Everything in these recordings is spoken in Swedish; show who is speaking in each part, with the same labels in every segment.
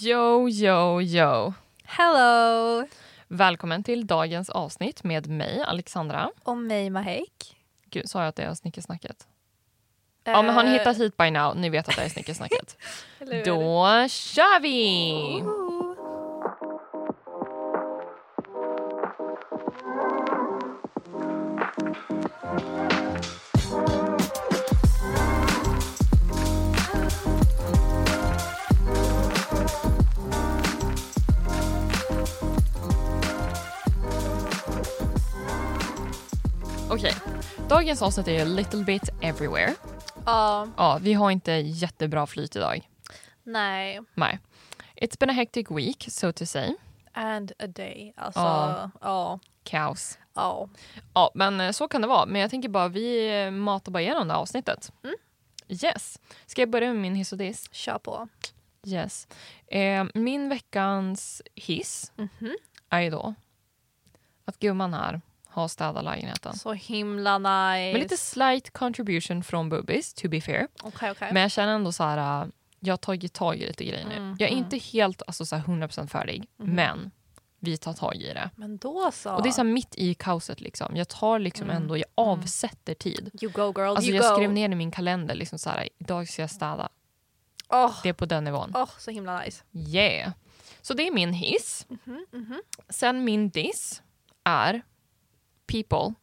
Speaker 1: Yo, yo, yo.
Speaker 2: Hello!
Speaker 1: Välkommen till dagens avsnitt med mig, Alexandra.
Speaker 2: Och mig Mahek.
Speaker 1: Gud, sa jag att det är snickersnacket? Ja, men
Speaker 2: Eh,
Speaker 1: har ni hittat hit by now? Ni vet att det är snickersnacket. Då kör vi! Okej, dagens avsnitt är little bit everywhere.
Speaker 2: Ja,
Speaker 1: Ja, vi har inte jättebra flyt idag.
Speaker 2: nej.
Speaker 1: Nej. It's been a hectic week, so to say.
Speaker 2: And a day. Alltså,
Speaker 1: Ja.
Speaker 2: ja. Ja.
Speaker 1: Kaos. Ja, men eh, så kan det vara. Men jag tänker bara, vi eh, matar bara igenom det här avsnittet. Yes. Ska jag börja med min hiss och diss?
Speaker 2: Kör på.
Speaker 1: Yes. Eh, min veckans hiss är ju då att gumman här har städat lägenheten.
Speaker 2: Så himla nice.
Speaker 1: Med lite slight contribution från Bubis, to be fair.
Speaker 2: Okej, okej.
Speaker 1: Men jag känner ändå så här, äh, jag har tagit tag i lite grejer nu.
Speaker 2: Mm,
Speaker 1: jag är inte helt alltså, så här 100% färdig,
Speaker 2: Mhm.
Speaker 1: men vi tar tag i det.
Speaker 2: Men då så.
Speaker 1: Och det är så här, mitt i kaoset liksom. Jag tar liksom ändå, jag avsätter tid.
Speaker 2: You go girl,
Speaker 1: Alltså
Speaker 2: Mm. you
Speaker 1: jag
Speaker 2: go.
Speaker 1: skrev ner i min kalender liksom så här, idag ska jag städa.
Speaker 2: Åh,
Speaker 1: Det är på den nivån.
Speaker 2: åh, så himla nice.
Speaker 1: Yeah. Så det är min hiss.
Speaker 2: Mm-hmm,
Speaker 1: Sen min diss är people.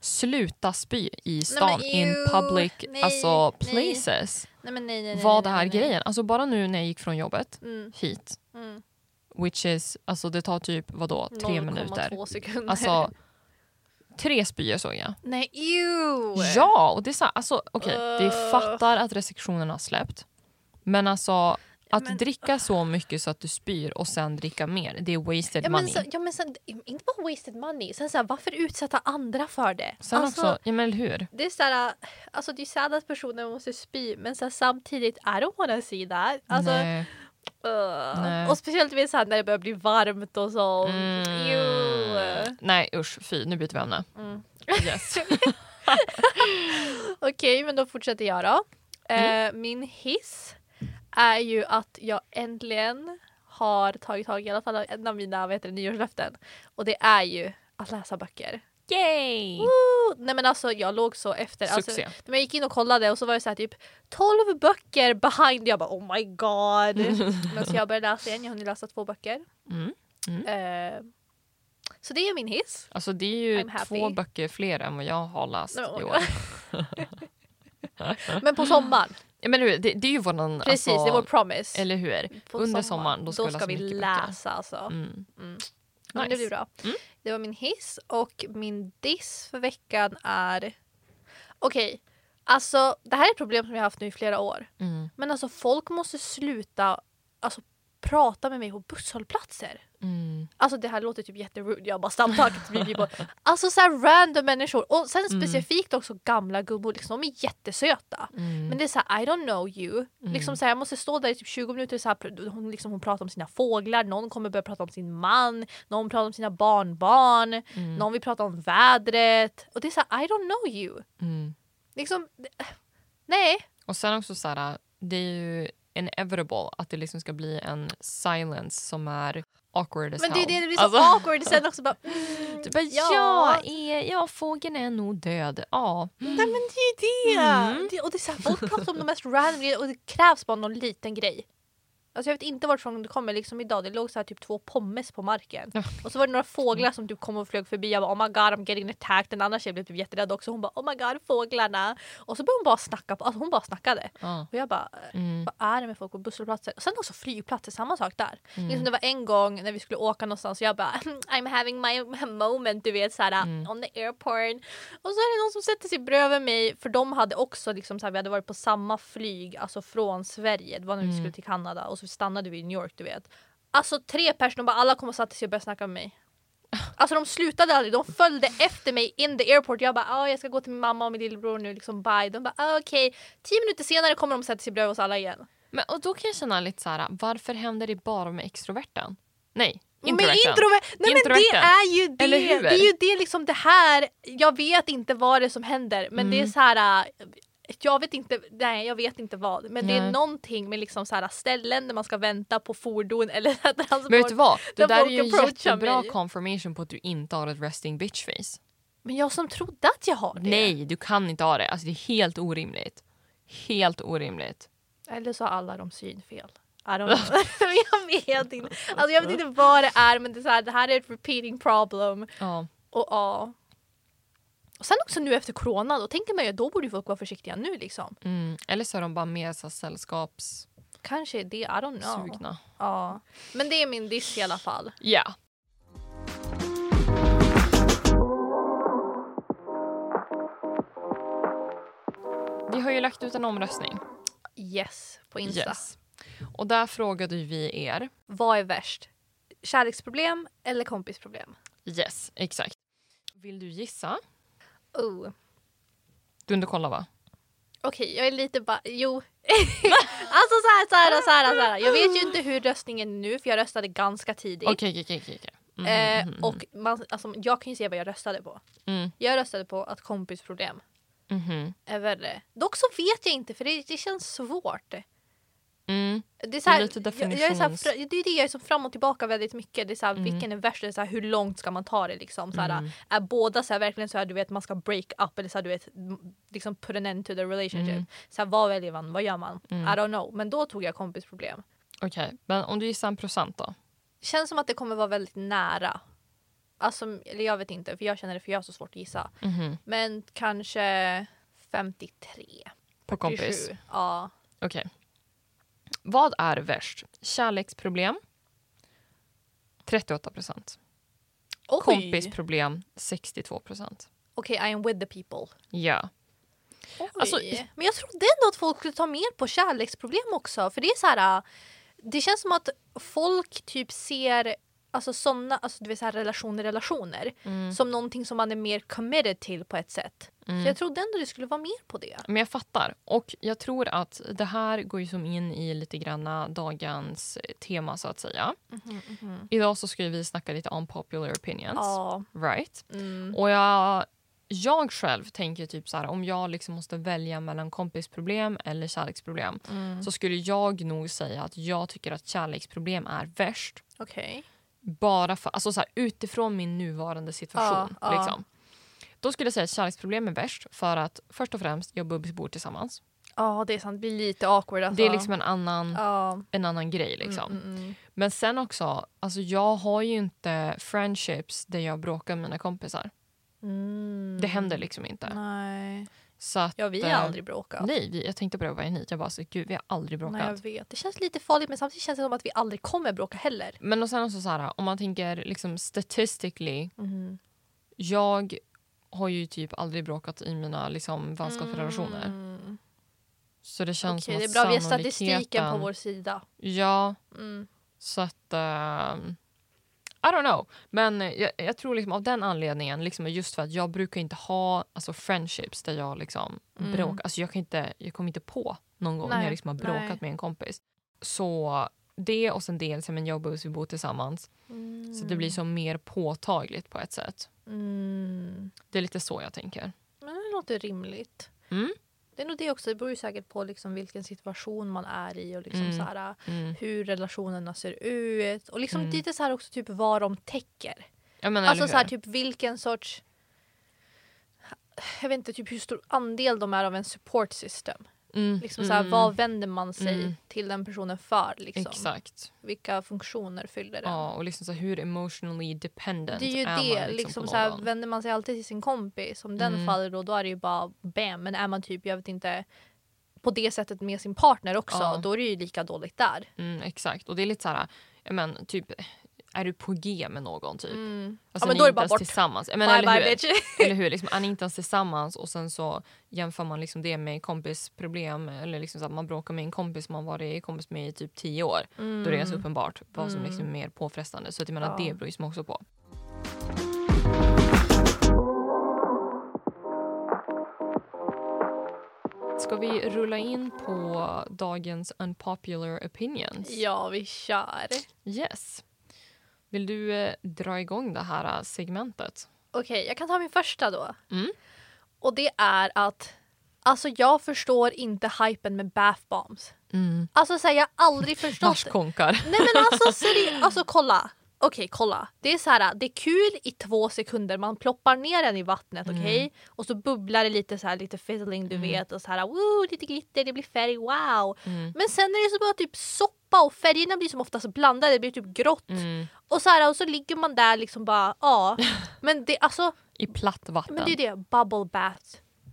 Speaker 1: Sluta spy i stan
Speaker 2: Mm-hmm. men
Speaker 1: in
Speaker 2: ew.
Speaker 1: public
Speaker 2: Nej,
Speaker 1: alltså,
Speaker 2: nej.
Speaker 1: places.
Speaker 2: Nej men nej, nej, nej.
Speaker 1: Vad
Speaker 2: nej,
Speaker 1: är
Speaker 2: nej, nej.
Speaker 1: grejen? Alltså bara nu när jag gick från jobbet
Speaker 2: Mm,
Speaker 1: hit,
Speaker 2: mm.
Speaker 1: which is, alltså det tar typ vadå, tre minuter.
Speaker 2: 0,2 sekunder.
Speaker 1: Alltså tre spyor såg jag.
Speaker 2: nej, ew!
Speaker 1: Ja, och det är så här, alltså okej, vi
Speaker 2: Ugh.
Speaker 1: fattar att restriktionerna har släppt. Men alltså att
Speaker 2: Men-
Speaker 1: dricka så mycket så att du spyr och sen dricka mer, det är wasted
Speaker 2: Ja men,
Speaker 1: money.
Speaker 2: så, ja men sen, inte bara wasted money, sen så här, varför utsätta andra för det? Alltså,
Speaker 1: sen också, ja men eller hur?
Speaker 2: Det är såhär, alltså det är sad att personen måste spy men så här, samtidigt I don't wanna see that. Alltså,
Speaker 1: Nej.
Speaker 2: ugh.
Speaker 1: Nej.
Speaker 2: Och speciellt vid så här, när det börjar bli varmt och sånt.
Speaker 1: Mm.
Speaker 2: oh, Ew.
Speaker 1: Nej usch, fy, nu byter vi ämne.
Speaker 2: Mm.
Speaker 1: Yes.
Speaker 2: Okej men då fortsätter jag då.
Speaker 1: Mm.
Speaker 2: Eh, min hiss är ju att jag äntligen har tagit tag i i alla fall en av mina vad heter det, nyårslöften. Och det är ju att läsa böcker.
Speaker 1: Yay!
Speaker 2: Woo! Nej men alltså jag låg så efter. Alltså,
Speaker 1: Succé.
Speaker 2: Men jag gick in och kollade och så var det så här typ 12 böcker behind. Jag bara oh my god. Men så jag började läsa igen. Jag har nu läsa två böcker.
Speaker 1: Mm.
Speaker 2: Eh, så det är min hiss.
Speaker 1: Alltså det är ju
Speaker 2: I'm happy.
Speaker 1: två böcker fler än vad jag har läst
Speaker 2: No.
Speaker 1: i år.
Speaker 2: Men på sommaren.
Speaker 1: Ja, men du, det, det är ju våran...
Speaker 2: Precis,
Speaker 1: alltså,
Speaker 2: det är vår promise.
Speaker 1: Eller hur?
Speaker 2: På
Speaker 1: Under sommaren, då ska vi läsa
Speaker 2: vi
Speaker 1: mycket
Speaker 2: läsa alltså.
Speaker 1: Mm.
Speaker 2: Mm. Ja, men
Speaker 1: Nice.
Speaker 2: Det
Speaker 1: Mm.
Speaker 2: blir bra. Det var min hiss och min diss för veckan är... Okej, alltså det här är ett problem som jag har haft nu i flera år.
Speaker 1: Mm.
Speaker 2: Men alltså folk måste sluta alltså, prata med mig på busshållplatser.
Speaker 1: Mm.
Speaker 2: Alltså det här låter typ jätterude, jag bara stamtaket blir på. Alltså så här random människor och sen specifikt också gamla gummor, liksom, de är jättesöta.
Speaker 1: Mm.
Speaker 2: Men det är så här, I don't know you. Liksom så här, jag måste stå där i typ 20 minuter så här, hon, liksom, hon pratar om sina fåglar, någon kommer börja prata om sin man, någon pratar om sina barnbarn,
Speaker 1: Mm.
Speaker 2: någon vill prata om vädret. Och det är så här, I don't know you.
Speaker 1: Mm.
Speaker 2: Liksom, det- nej.
Speaker 1: Och sen också så här, det är ju inevitable att det liksom ska bli en silence som är awkward as
Speaker 2: Men det,
Speaker 1: hell.
Speaker 2: det blir så awkward sen också bara mm,
Speaker 1: Du bara, ja, är, ja, fågeln är nog död. Ja. Mm.
Speaker 2: Nej men det är ju det! det och det är så här, folk pratar om de mest random grejerna och det krävs bara någon liten grej. Alltså jag vet inte varifrån det kommer. Liksom idag det låg så här typ två pommes på marken.
Speaker 1: Ja.
Speaker 2: Och så var det några fåglar som typ kom och flög förbi. Jag bara oh my god I'm getting attacked. En annan tjej blev typ jätterädd också. Hon bara oh my god fåglarna. Och så började hon bara snacka. På, alltså hon bara snackade.
Speaker 1: ja.
Speaker 2: Och jag bara eh,
Speaker 1: Mm.
Speaker 2: vad är det med folk på busshållplatser? Och sen också flygplatser, samma sak där.
Speaker 1: Mm.
Speaker 2: Liksom det var en gång när vi skulle åka någonstans och jag bara I'm having my moment du vet såhär
Speaker 1: Mm.
Speaker 2: on the airport. Och så är det någon som sätter sig bredvid mig för de hade också liksom såhär, vi hade varit på samma flyg alltså från Sverige. Det var
Speaker 1: Mm.
Speaker 2: när vi skulle till Kanada och så stannade vi i New York du vet. Alltså tre personer bara alla kom och satte sig och började snacka med mig. Alltså de slutade aldrig, de följde efter mig in the airport. Jag bara ah jag ska gå till min mamma och min lillebror nu, liksom bye. De bara ah, okej. Tio minuter senare kommer de och sätter sig bredvid oss alla igen.
Speaker 1: Men, och då kan jag känna lite så här, varför händer det bara med extroverten? Nej,
Speaker 2: Men
Speaker 1: introverten.
Speaker 2: introver- Nej men det
Speaker 1: Introverten.
Speaker 2: är ju det!
Speaker 1: Eller hur? Mm.
Speaker 2: Det är ju det liksom det här, jag vet inte vad det är som händer men det är så här. äh, jag vet inte, nej jag vet inte vad. Men det är
Speaker 1: Nej.
Speaker 2: någonting med liksom så här ställen där man ska vänta på fordon eller transport.
Speaker 1: Men vet du vad? Det
Speaker 2: Där
Speaker 1: där är
Speaker 2: folk
Speaker 1: ju en
Speaker 2: approachar
Speaker 1: jättebra
Speaker 2: mig.
Speaker 1: confirmation på att du inte har ett resting bitch face.
Speaker 2: Men jag som trodde att jag har det.
Speaker 1: Nej, du kan inte ha det. Alltså det är helt orimligt. Helt orimligt.
Speaker 2: Eller så har alla de synfel. I don't know. jag vet inte. Alltså jag vet inte vad det är men det, är så här, det här är ett repeating problem.
Speaker 1: Ja.
Speaker 2: Och ja. Och sen också nu efter corona, då tänker man ju då borde ju folk vara försiktiga nu liksom.
Speaker 1: Mm. Eller så är de bara mer så här sällskapssugna.
Speaker 2: Kanske är det, I don't know. Ja. Men det är min diss i alla fall.
Speaker 1: Ja. Vi har ju lagt ut en omröstning.
Speaker 2: Yes, på Insta.
Speaker 1: Yes. Och där frågade vi er.
Speaker 2: Vad är värst? Kärleksproblem eller kompisproblem?
Speaker 1: Yes, exakt. Vill du gissa?
Speaker 2: Oh.
Speaker 1: Du inte kolla va?
Speaker 2: Okej, jag är lite bara... Jo. alltså så här, så här, så här, så här. Jag vet ju inte hur röstningen är nu för jag röstade ganska tidigt.
Speaker 1: Okej, okej, okej, okej. okej. Mm,
Speaker 2: Eh,
Speaker 1: mm,
Speaker 2: och man, alltså, jag kan ju se vad jag röstade på.
Speaker 1: mm,
Speaker 2: Jag röstade på att kompisproblem
Speaker 1: mm, mhm,
Speaker 2: är värre. Dock så vet jag inte för det, det känns svårt.
Speaker 1: mm.
Speaker 2: Det är, så här,
Speaker 1: Det är lite
Speaker 2: jag, jag är så här,
Speaker 1: definitions-
Speaker 2: fra- det är det jag är som fram och tillbaka väldigt mycket. Det är så här, Vilken är värst? Det är så här, hur långt ska man ta det? Liksom? Så här, Är båda så här, verkligen så här, du vet man ska break up eller så här, du vet m- liksom put an end to the relationship. Så här, vad väljer man? Vad gör man? I don't know. Men då tog jag kompisproblem.
Speaker 1: Okej, men om du gissar en procent då?
Speaker 2: Känns som att det kommer vara väldigt nära. Alltså, eller jag vet inte för jag känner det för jag har så svårt att gissa.
Speaker 1: Mhm.
Speaker 2: Men kanske 53.
Speaker 1: På kompis?
Speaker 2: 47. Ja.
Speaker 1: Okej. Vad är värst? Kärleksproblem? 38 procent.
Speaker 2: Oj.
Speaker 1: Kompisproblem 62 procent.
Speaker 2: Okej, I am with the people.
Speaker 1: Ja.
Speaker 2: Oj.
Speaker 1: Alltså-
Speaker 2: men jag trodde ändå att folk skulle ta mer på kärleksproblem också. För det är så här, äh, det känns som att folk typ ser alltså sådana, alltså du vet så här relationer, relationer
Speaker 1: Mm.
Speaker 2: som någonting som man är mer committed till på ett sätt. Så jag trodde ändå det skulle vara mer på det.
Speaker 1: Men jag fattar. Och jag tror att det här går ju som in i lite granna dagens eh, tema så att säga.
Speaker 2: Mhm,
Speaker 1: Idag så ska ju vi snacka lite unpopular opinions.
Speaker 2: Ja.
Speaker 1: Right?
Speaker 2: Mm.
Speaker 1: Och jag, jag själv tänker typ så här, om jag liksom måste välja mellan kompisproblem eller kärleksproblem
Speaker 2: Mm.
Speaker 1: så skulle jag nog säga att jag tycker att kärleksproblem är värst.
Speaker 2: Okej.
Speaker 1: Bara för, alltså så här, utifrån min nuvarande situation.
Speaker 2: Ja, ja.
Speaker 1: liksom. Då skulle jag säga att kärleksproblem är värst för att först och främst, jag och Bubbis bor tillsammans.
Speaker 2: Ja, det är sant. Det blir lite awkward alltså.
Speaker 1: Det är liksom en annan,
Speaker 2: Ja.
Speaker 1: en annan grej. Liksom.
Speaker 2: Mm, mm.
Speaker 1: Men sen också, alltså jag har ju inte friendships där jag bråkar med mina kompisar.
Speaker 2: Mm.
Speaker 1: Det händer liksom inte.
Speaker 2: Nej.
Speaker 1: Så att,
Speaker 2: Ja, vi har
Speaker 1: eh,
Speaker 2: aldrig bråkat.
Speaker 1: Nej, vi, jag tänkte på det på vägen hit. Jag bara, så, gud, vi har aldrig bråkat.
Speaker 2: Nej, jag vet. Det känns lite farligt men samtidigt känns det som att vi aldrig kommer bråka heller.
Speaker 1: Men och sen också så här, om man tänker liksom statistically.
Speaker 2: Mm.
Speaker 1: Jag har ju typ aldrig bråkat i mina liksom, vänskapsrelationer.
Speaker 2: Mm.
Speaker 1: Så det känns
Speaker 2: Okej,
Speaker 1: som
Speaker 2: det
Speaker 1: att
Speaker 2: är bra. Vi har
Speaker 1: sannolikheten-
Speaker 2: statistiken på vår sida.
Speaker 1: Ja,
Speaker 2: Mm.
Speaker 1: så att... ehm, I don't know. Men jag, jag tror liksom av den anledningen, liksom just för att jag brukar inte ha alltså, friendships där jag liksom
Speaker 2: Mm.
Speaker 1: bråkar. Alltså, jag, kan inte, jag kommer inte på någon gång när
Speaker 2: Nej,
Speaker 1: jag liksom har bråkat
Speaker 2: nej.
Speaker 1: med en kompis. Så det och sen dels, men jag och Bus, vi bor tillsammans. Mm. Så det blir som mer påtagligt på ett sätt.
Speaker 2: Mm.
Speaker 1: Det är lite så jag tänker.
Speaker 2: Men det låter rimligt.
Speaker 1: Mm.
Speaker 2: Det är nog det också. Det beror ju säkert på liksom vilken situation man är i och liksom
Speaker 1: Mm.
Speaker 2: så här,
Speaker 1: Mm.
Speaker 2: hur relationerna ser ut. Och liksom
Speaker 1: Mm.
Speaker 2: lite så här också typ vad de täcker.
Speaker 1: Jag menar,
Speaker 2: Alltså
Speaker 1: eller
Speaker 2: så här,
Speaker 1: hur?
Speaker 2: typ vilken sorts... Jag vet inte typ hur stor andel de är av en support system.
Speaker 1: Mm,
Speaker 2: Liksom så här,
Speaker 1: mm,
Speaker 2: Vad vänder man sig
Speaker 1: Mm.
Speaker 2: till den personen för? Liksom?
Speaker 1: Exakt.
Speaker 2: Vilka funktioner fyller den?
Speaker 1: Ja, och liksom så här, hur emotionally dependent
Speaker 2: Det är ju
Speaker 1: är
Speaker 2: det.
Speaker 1: man
Speaker 2: Liksom,
Speaker 1: liksom, på
Speaker 2: så här,
Speaker 1: någon?
Speaker 2: vänder man sig alltid till sin kompis, om den
Speaker 1: Mm.
Speaker 2: faller då, då är det ju bara bam. Men är man typ, jag vet inte, på det sättet med sin partner också,
Speaker 1: Ja.
Speaker 2: då är det ju lika dåligt där.
Speaker 1: Mm, exakt. Och det är lite så här, ja, men, typ, är du på G med någon typ?
Speaker 2: Mm.
Speaker 1: Alltså,
Speaker 2: Ja, men
Speaker 1: ni
Speaker 2: då är det
Speaker 1: inte
Speaker 2: bara
Speaker 1: ens
Speaker 2: bort.
Speaker 1: Tillsammans. Ja, Men,
Speaker 2: Bye
Speaker 1: eller,
Speaker 2: bye
Speaker 1: hur?
Speaker 2: bitch.
Speaker 1: eller hur? Liksom, är ni inte ens tillsammans och sen så jämför man liksom det med kompisproblem eller liksom så att man bråkar med en kompis man varit kompis med i typ tio år. Då är det ganska uppenbart vad som liksom är mer påfrestande. Så att jag menar,
Speaker 2: Mm. Ja.
Speaker 1: det beror ju som också på. Ska vi rulla in på dagens unpopular opinions?
Speaker 2: Ja, vi kör.
Speaker 1: Yes. Vill du eh, dra igång det här eh, segmentet?
Speaker 2: Okej, jag kan ta min första då.
Speaker 1: Mm.
Speaker 2: Och det är att Alltså jag förstår inte hypen med bath bombs.
Speaker 1: Mm.
Speaker 2: Alltså så här, jag har aldrig förstått.
Speaker 1: Haschkonkar.
Speaker 2: Nej men alltså, seri- alltså kolla. Okej kolla. Det är så här, det är kul i två sekunder. Man ploppar ner den i vattnet
Speaker 1: Mm.
Speaker 2: okej. Och så bubblar det lite så här lite fizzling du vet och så här woo, lite glitter, det blir färg, wow.
Speaker 1: Mm.
Speaker 2: Men sen är det så bara typ soppa och färgerna blir som oftast blandade, det blir typ grått.
Speaker 1: Mm.
Speaker 2: Och, så här, och så ligger man där liksom bara ja. Men det alltså
Speaker 1: I platt vatten.
Speaker 2: men det är ju det, bubble bath.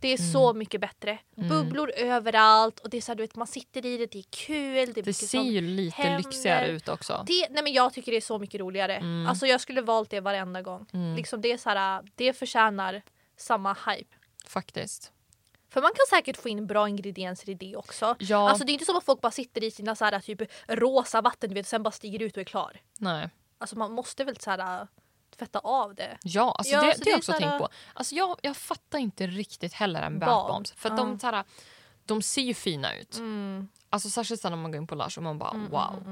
Speaker 2: Det är så
Speaker 1: Mm.
Speaker 2: mycket bättre. Bubblor överallt och det är så här, du vet, man sitter i det, det är kul. Det, är
Speaker 1: Det
Speaker 2: mycket
Speaker 1: ser ju lite
Speaker 2: händer.
Speaker 1: lyxigare ut också.
Speaker 2: det, nej men jag tycker det är så mycket roligare.
Speaker 1: Mm.
Speaker 2: Alltså jag skulle valt det varenda gång. Liksom det, är så här, det förtjänar samma hype.
Speaker 1: Faktiskt.
Speaker 2: För man kan säkert få in bra ingredienser i det också.
Speaker 1: Ja.
Speaker 2: Alltså det är inte som att folk bara sitter i sina så här, typ, rosa vatten du vet, och sen bara stiger ut och är klar.
Speaker 1: Nej.
Speaker 2: Alltså man måste väl så här, tvätta av det.
Speaker 1: Ja, alltså
Speaker 2: Ja,
Speaker 1: det,
Speaker 2: så
Speaker 1: det
Speaker 2: det
Speaker 1: har
Speaker 2: är
Speaker 1: jag också
Speaker 2: såhär-
Speaker 1: tänkt på. Alltså jag, jag fattar inte riktigt heller en
Speaker 2: Bad.
Speaker 1: bath bombs. För att
Speaker 2: Ja. Mm.
Speaker 1: de, såhär, de ser ju fina ut. Alltså Särskilt sen när man går in på Lush och man bara wow.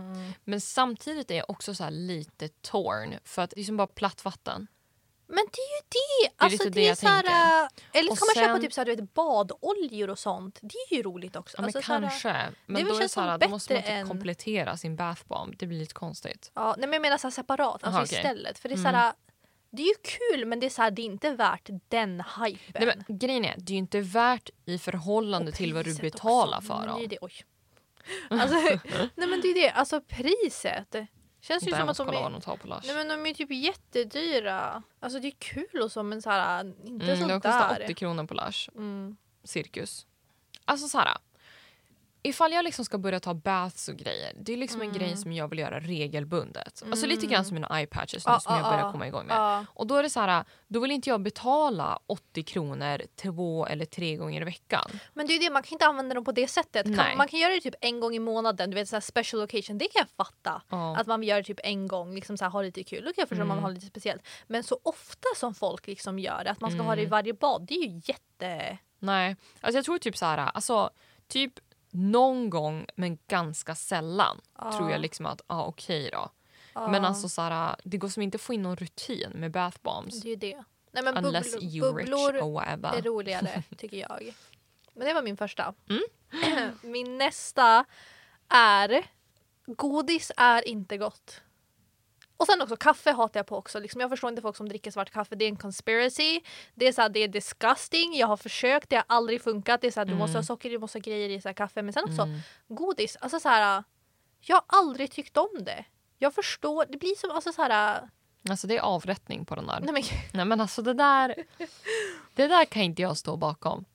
Speaker 1: Men samtidigt är jag också så lite torn för att det är som bara platt vatten.
Speaker 2: Men det är ju det!
Speaker 1: är
Speaker 2: Alltså, det
Speaker 1: lite
Speaker 2: är
Speaker 1: det jag
Speaker 2: så här, äh, eller
Speaker 1: Och
Speaker 2: så kan
Speaker 1: sen-
Speaker 2: man köpa typ så här, du vet, badoljor och sånt. Det är ju roligt också.
Speaker 1: Ja, men
Speaker 2: Alltså, så här,
Speaker 1: kanske.
Speaker 2: det
Speaker 1: men
Speaker 2: väl
Speaker 1: då, är det
Speaker 2: känns
Speaker 1: så här,
Speaker 2: som
Speaker 1: då måste man
Speaker 2: bättre
Speaker 1: typ
Speaker 2: än-
Speaker 1: komplettera sin bath bomb. Det blir lite konstigt.
Speaker 2: ja, nej, men jag menar så här, separat, alltså
Speaker 1: Aha, okej. Mm.
Speaker 2: istället. För det är, så här, det är ju kul men det är, så här, det är inte värt den hypen.
Speaker 1: Nej, men, grejen är, det är ju inte värt i förhållande
Speaker 2: Och
Speaker 1: till vad du
Speaker 2: priset
Speaker 1: betalar
Speaker 2: också.
Speaker 1: för
Speaker 2: Men det. är ju
Speaker 1: dem.
Speaker 2: Det, oj. Alltså, nej men det är det, alltså priset. Känns ju
Speaker 1: Där
Speaker 2: som att
Speaker 1: måste
Speaker 2: de
Speaker 1: kolla vad
Speaker 2: är,
Speaker 1: de tar på Lush.
Speaker 2: nej, men de är typ jättedyra. Alltså det är kul och så men så här, inte
Speaker 1: Mm, de
Speaker 2: sånt
Speaker 1: kostar
Speaker 2: där.
Speaker 1: 80 kronor på Lush.
Speaker 2: Mm.
Speaker 1: cirkus. Alltså så här. Ifall jag liksom ska börja ta baths och grejer, det är liksom en
Speaker 2: Mm.
Speaker 1: grej som jag vill göra regelbundet. Alltså lite grann som mina eye patches nu
Speaker 2: Ja,
Speaker 1: som
Speaker 2: ja,
Speaker 1: jag börjar
Speaker 2: ja.
Speaker 1: komma igång med.
Speaker 2: Ja.
Speaker 1: Och då är det så här, då vill inte jag betala 80 kronor två eller tre gånger i veckan.
Speaker 2: Men det är ju det, man kan inte använda dem på det sättet.
Speaker 1: Nej.
Speaker 2: Kan, man kan göra det typ en gång i månaden, du vet så här special occasion, det kan jag fatta.
Speaker 1: Ja. Mm.
Speaker 2: Att man gör det typ en gång, liksom så här, ha lite kul. Då kan jag förstå om man har lite speciellt. Men så ofta som folk liksom gör det, att man ska ha det
Speaker 1: Mm.
Speaker 2: i varje bad, det är ju jätte...
Speaker 1: Nej, alltså jag tror typ så här, alltså typ någon gång men ganska sällan tror jag liksom att, ja ah, okej då. Men alltså så här, det går som inte att få in någon rutin med bath bombs.
Speaker 2: Det är ju det. Nej, men
Speaker 1: Unless
Speaker 2: bubblor,
Speaker 1: you rich
Speaker 2: bubblor
Speaker 1: or whatever.
Speaker 2: är roligare tycker jag. Men det var min första.
Speaker 1: Mm.
Speaker 2: min nästa är godis är inte gott. Och sen också kaffe hatar jag på också. Liksom, jag förstår inte folk som dricker svart kaffe. Det är en conspiracy. Det är, så här, det är disgusting. Jag har försökt, det har aldrig funkat. Det är så här, Du måste ha
Speaker 1: Mm.
Speaker 2: socker, du måste ha grejer i så här, kaffe. Men sen också godis. Alltså så här, jag har aldrig tyckt om det. Jag förstår. Det blir som... Alltså, så här,
Speaker 1: Alltså det är avrättning på den där.
Speaker 2: nej, men,
Speaker 1: Nej men alltså det där, det där kan inte jag stå bakom.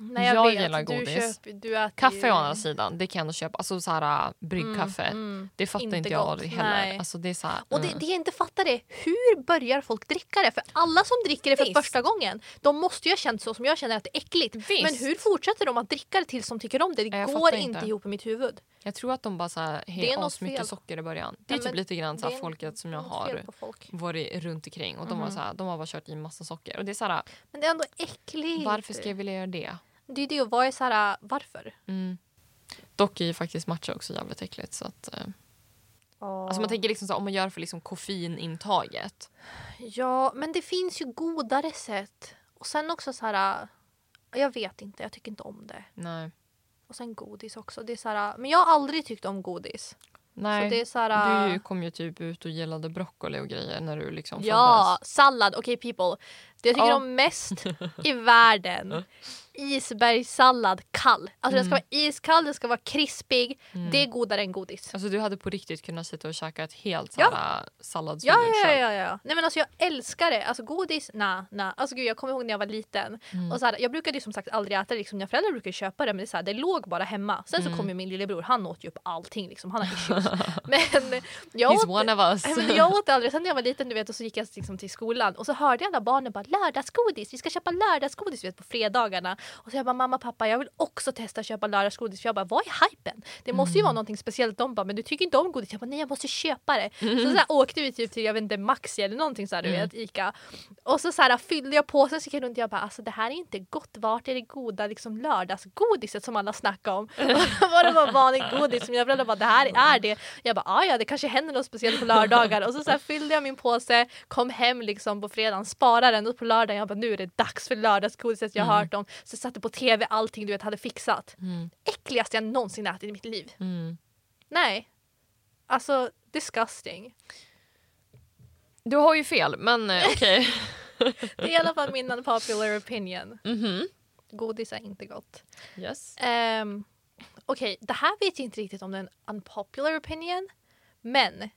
Speaker 2: nej, jag,
Speaker 1: Jag
Speaker 2: vet.
Speaker 1: gillar
Speaker 2: Du
Speaker 1: godis.
Speaker 2: köper- du äter
Speaker 1: Kaffe
Speaker 2: ju-
Speaker 1: å andra sidan, det kan jag ändå köpa. Alltså så här äh, bryggkaffe.
Speaker 2: mm.
Speaker 1: Det fattar
Speaker 2: Inte
Speaker 1: inte, jag
Speaker 2: gott,
Speaker 1: aldrig heller.
Speaker 2: nej.
Speaker 1: Alltså det är så här,
Speaker 2: Och det,
Speaker 1: mm.
Speaker 2: det jag inte fattar är hur börjar folk dricka det? För alla som dricker det för
Speaker 1: Visst.
Speaker 2: första gången de måste ju ha känt så som jag känner att det är äckligt.
Speaker 1: Visst.
Speaker 2: Men hur fortsätter de att dricka det tills de tycker om det? Det
Speaker 1: Nej, jag
Speaker 2: går
Speaker 1: fattar
Speaker 2: inte
Speaker 1: inte.
Speaker 2: ihop i mitt huvud.
Speaker 1: Jag tror att de bara så här,
Speaker 2: Det
Speaker 1: hey,
Speaker 2: är något fel.
Speaker 1: asmycket socker i början. Det är
Speaker 2: Nej,
Speaker 1: typ
Speaker 2: men
Speaker 1: lite grann så
Speaker 2: det
Speaker 1: här
Speaker 2: är
Speaker 1: folket som jag
Speaker 2: något fel Mm.
Speaker 1: har
Speaker 2: på folk.
Speaker 1: varit runt omkring och de, var så här, de har bara kört i massa socker. Och det är så här,
Speaker 2: Men det är ändå äckligt.
Speaker 1: varför ska jag vilja göra det?
Speaker 2: Det är det och vad är så här, äh, varför?
Speaker 1: Mm. Dock är ju faktiskt matcha också jävligt äckligt. Så att, eh. alltså man tänker liksom så här, om man gör för liksom koffeinintaget.
Speaker 2: Ja, men det finns ju godare sätt. Och sen också så här, äh, jag vet inte, jag tycker inte om det.
Speaker 1: Nej.
Speaker 2: Och sen godis också. Det är så här, äh, men jag har aldrig tyckt om godis.
Speaker 1: Nej.
Speaker 2: Så det är så här, äh,
Speaker 1: Du kom ju typ ut och gillade broccoli och grejer när du liksom
Speaker 2: Ja, sallad. Okej people. Det jag tycker
Speaker 1: Ja.
Speaker 2: om mest i världen. Isbergssallad kall. Alltså den
Speaker 1: Mm.
Speaker 2: ska vara iskall, den ska vara krispig. Det är godare än godis.
Speaker 1: Alltså du hade på riktigt kunnat sitta och käka ett helt
Speaker 2: Ja.
Speaker 1: ja.
Speaker 2: Ja,
Speaker 1: salladshuvud
Speaker 2: ja,
Speaker 1: själv.
Speaker 2: ja, ja. Nej men alltså jag älskar det. Alltså godis, na, na. Alltså gud jag kommer ihåg när jag var liten.
Speaker 1: Mm.
Speaker 2: Och så här, jag brukade ju som sagt aldrig äta det. Liksom, mina föräldrar brukade köpa det men det, är så här, det låg bara hemma. Sen så
Speaker 1: Mm.
Speaker 2: kom ju min lillebror, han åt ju upp allting liksom. Han har issues. men jag åt
Speaker 1: He's one of us.
Speaker 2: Nej, men jag åt det aldrig. Sen när jag var liten du vet, och så gick jag liksom till skolan och så hörde jag alla barnen bara lördagsgodis, vi ska köpa lördagsgodis du vet, på fredagarna. Och så jag bara mamma pappa jag vill också testa att köpa lördagsgodis för jag bara vad är hypen? Det måste ju vara någonting speciellt. De bara men du tycker inte om godis. Jag bara nej jag måste köpa det. Så, så här, åkte vi typ till jag vet inte Maxi eller någonting så här, du vet Ica. Och så, så här, fyllde jag påsen så gick jag runt och jag bara alltså det här är inte gott. Vart är det goda liksom lördagsgodiset som alla snackar om? Och då var det bara vanligt godis som jag föräldrar bara det här är det. Jag bara "Ah, ja det kanske händer något speciellt på lördagar och så, så här, fyllde jag min påse, kom hem liksom på fredagen, sparade den och på lördagen, jag bara nu är det dags för lördagsgodiset jag har hört om. Så jag satte på tv allting du vet hade fixat.
Speaker 1: Mm.
Speaker 2: Äckligaste jag någonsin ätit i mitt liv.
Speaker 1: Mm.
Speaker 2: Nej. Alltså disgusting.
Speaker 1: Du har ju fel, men eh, okej.
Speaker 2: Det är i alla fall min unpopular opinion.
Speaker 1: Mhm.
Speaker 2: Godis är inte gott.
Speaker 1: Yes.
Speaker 2: Um, Okej, det här vet jag inte riktigt om det är en unpopular opinion. Men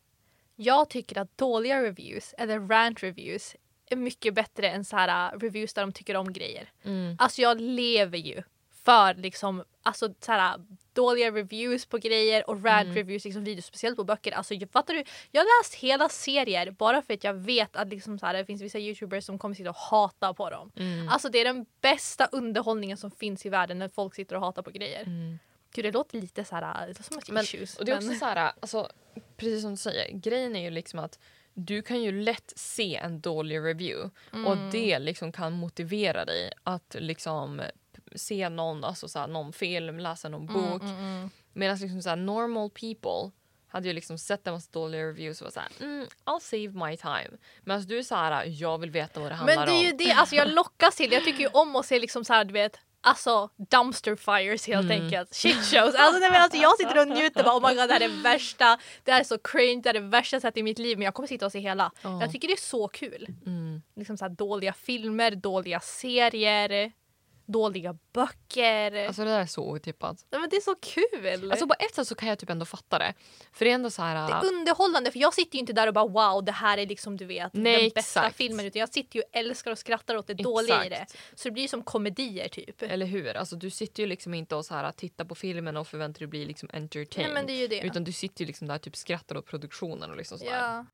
Speaker 2: jag tycker att dåliga reviews, eller rant reviews, är mycket bättre än så här, uh, reviews där de tycker om grejer.
Speaker 1: Mm.
Speaker 2: Alltså jag lever ju för liksom, alltså, så här, dåliga reviews på grejer och rant
Speaker 1: Mm.
Speaker 2: reviews, liksom videos speciellt på böcker. Alltså, jag, fattar du? Jag har läst hela serier bara för att jag vet att liksom, så här, det finns vissa youtubers som kommer sitta och hata på dem.
Speaker 1: Mm.
Speaker 2: Alltså det är den bästa underhållningen som finns i världen när folk sitter och hatar på grejer. Gud det låter lite så här, äh, det låter som ett
Speaker 1: Mm. Men,
Speaker 2: issues.
Speaker 1: och det är också
Speaker 2: men,
Speaker 1: så här, alltså, precis som du säger, grejen är ju liksom att du kan ju lätt se en dålig review och
Speaker 2: Mm.
Speaker 1: det liksom kan motivera dig att liksom se någon, alltså så här, någon film, läsa någon
Speaker 2: Mm,
Speaker 1: bok. Medan liksom så här, normal people hade ju liksom sett en massa dåliga reviews och var såhär mm, I'll save my time. Medan du är såhär, jag vill veta vad det handlar
Speaker 2: men det är ju
Speaker 1: om.
Speaker 2: det, alltså jag lockas till, jag tycker ju om att se liksom så här, du vet Alltså dumpster fires helt
Speaker 1: Mm.
Speaker 2: enkelt. Shit shows. Alltså, nej, men alltså, jag sitter och njuter bara oh my god det här är det värsta, det här är så cringe, det här är det värsta jag sett i mitt liv men jag kommer sitta och se hela.
Speaker 1: Ja.
Speaker 2: Jag tycker det är så kul.
Speaker 1: Mm.
Speaker 2: Liksom så här, dåliga filmer, dåliga serier, dåliga böcker.
Speaker 1: Alltså det där är så otippat.
Speaker 2: nej, men det är så kul!
Speaker 1: Alltså på ett sätt så kan jag typ ändå fatta det. För det är ändå så här...
Speaker 2: Det är underhållande för jag sitter ju inte där och bara wow det här är liksom du vet
Speaker 1: Nej,
Speaker 2: den bästa
Speaker 1: exakt.
Speaker 2: filmen utan jag sitter ju och älskar och skrattar åt det dåliga i det.
Speaker 1: Exakt.
Speaker 2: Så det blir som komedier typ.
Speaker 1: Eller hur? Alltså, du sitter ju liksom inte och så här, tittar på filmen och förväntar dig bli liksom
Speaker 2: Nej
Speaker 1: entertained.
Speaker 2: men det är ju det.
Speaker 1: Utan du sitter ju liksom där och typ skrattar åt produktionen. Och liksom så där.
Speaker 2: ja.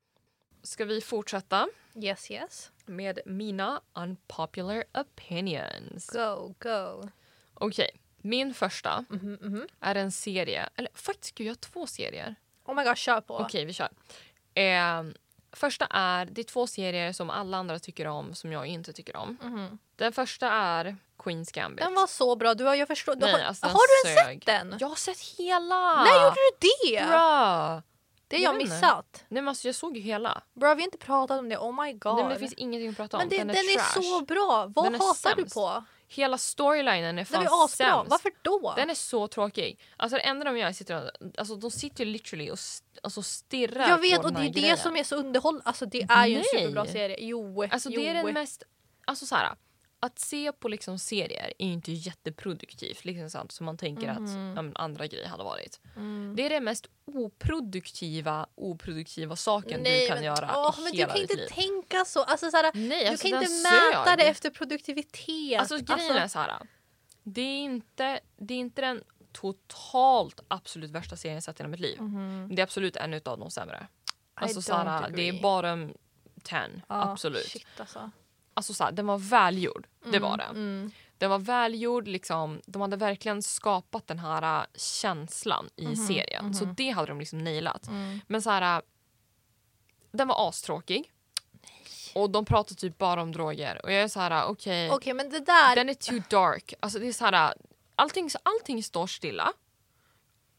Speaker 1: Ska vi fortsätta
Speaker 2: Yes yes.
Speaker 1: med mina unpopular opinions?
Speaker 2: Go go.
Speaker 1: Okej, min första
Speaker 2: Mhm, mhm.
Speaker 1: är en serie. Eller faktiskt, gud, jag har två serier.
Speaker 2: Oh my god kör på.
Speaker 1: Okej, vi kör. Eh, första är, det är två serier som alla andra tycker om som jag inte tycker om.
Speaker 2: Mhm.
Speaker 1: Den första är Queen's Gambit.
Speaker 2: Den var så bra. Du har, jag förstår, du
Speaker 1: Nej,
Speaker 2: har,
Speaker 1: alltså, den
Speaker 2: har du ens
Speaker 1: sög.
Speaker 2: sett den?
Speaker 1: Jag har sett hela!
Speaker 2: När gjorde du det?
Speaker 1: Bra!
Speaker 2: Det har jag
Speaker 1: Jag vet inte.
Speaker 2: missat.
Speaker 1: Nej men alltså jag såg ju hela.
Speaker 2: Bra vi har inte pratat om det. Oh my god.
Speaker 1: Nej, men det finns ingenting att prata om.
Speaker 2: Men det,
Speaker 1: den är, trash.
Speaker 2: är så bra. Vad
Speaker 1: Den är
Speaker 2: hatar du
Speaker 1: sämst.
Speaker 2: på?
Speaker 1: Hela storylinen är
Speaker 2: Den
Speaker 1: fan
Speaker 2: är asbra.
Speaker 1: sämst.
Speaker 2: Varför då?
Speaker 1: Den är så tråkig. Alltså det enda de gör är sitter och, alltså de sitter ju literally och st- alltså stirrar
Speaker 2: Jag vet
Speaker 1: på
Speaker 2: och
Speaker 1: den
Speaker 2: det
Speaker 1: här
Speaker 2: är det
Speaker 1: grejen.
Speaker 2: som är så underhållande. Alltså det är ju en
Speaker 1: Nej.
Speaker 2: superbra serie. Jo.
Speaker 1: Alltså
Speaker 2: jo. Mm.
Speaker 1: det är den mest, alltså så här, att se på liksom serier är ju inte jätteproduktivt liksom sånt som man tänker att
Speaker 2: Mhm.
Speaker 1: ja, men andra grejer hade varit. Det är den mest oproduktiva, oproduktiva saken du kan göra
Speaker 2: åh,
Speaker 1: i
Speaker 2: men du
Speaker 1: hela
Speaker 2: kan inte
Speaker 1: ditt liv.
Speaker 2: tänka så. Alltså, såhär,
Speaker 1: Nej,
Speaker 2: du
Speaker 1: alltså,
Speaker 2: kan inte
Speaker 1: den
Speaker 2: mäta
Speaker 1: sög.
Speaker 2: det efter produktivitet.
Speaker 1: Alltså grejen är så här. Det är inte, det är inte den totalt absolut värsta serien jag sett i hela mitt liv. Men Det är absolut en utav de sämre. Alltså
Speaker 2: Mm. don't
Speaker 1: så här, det är
Speaker 2: agree.
Speaker 1: bottom 10.
Speaker 2: Ja,
Speaker 1: absolut.
Speaker 2: Shit, alltså.
Speaker 1: Alltså så här, den var välgjord. Det var den.
Speaker 2: Mm.
Speaker 1: Den var välgjord. Liksom, de hade verkligen skapat den här äh, känslan i
Speaker 2: Mhm,
Speaker 1: serien. Så det hade de liksom nailat.
Speaker 2: Mm.
Speaker 1: Men så här, äh, den var astråkig. Och de pratar typ bara om droger. Och jag är så här, äh, okej.
Speaker 2: Okej men det där.
Speaker 1: Den är too dark. Alltså det är så här, allting, allting står stilla.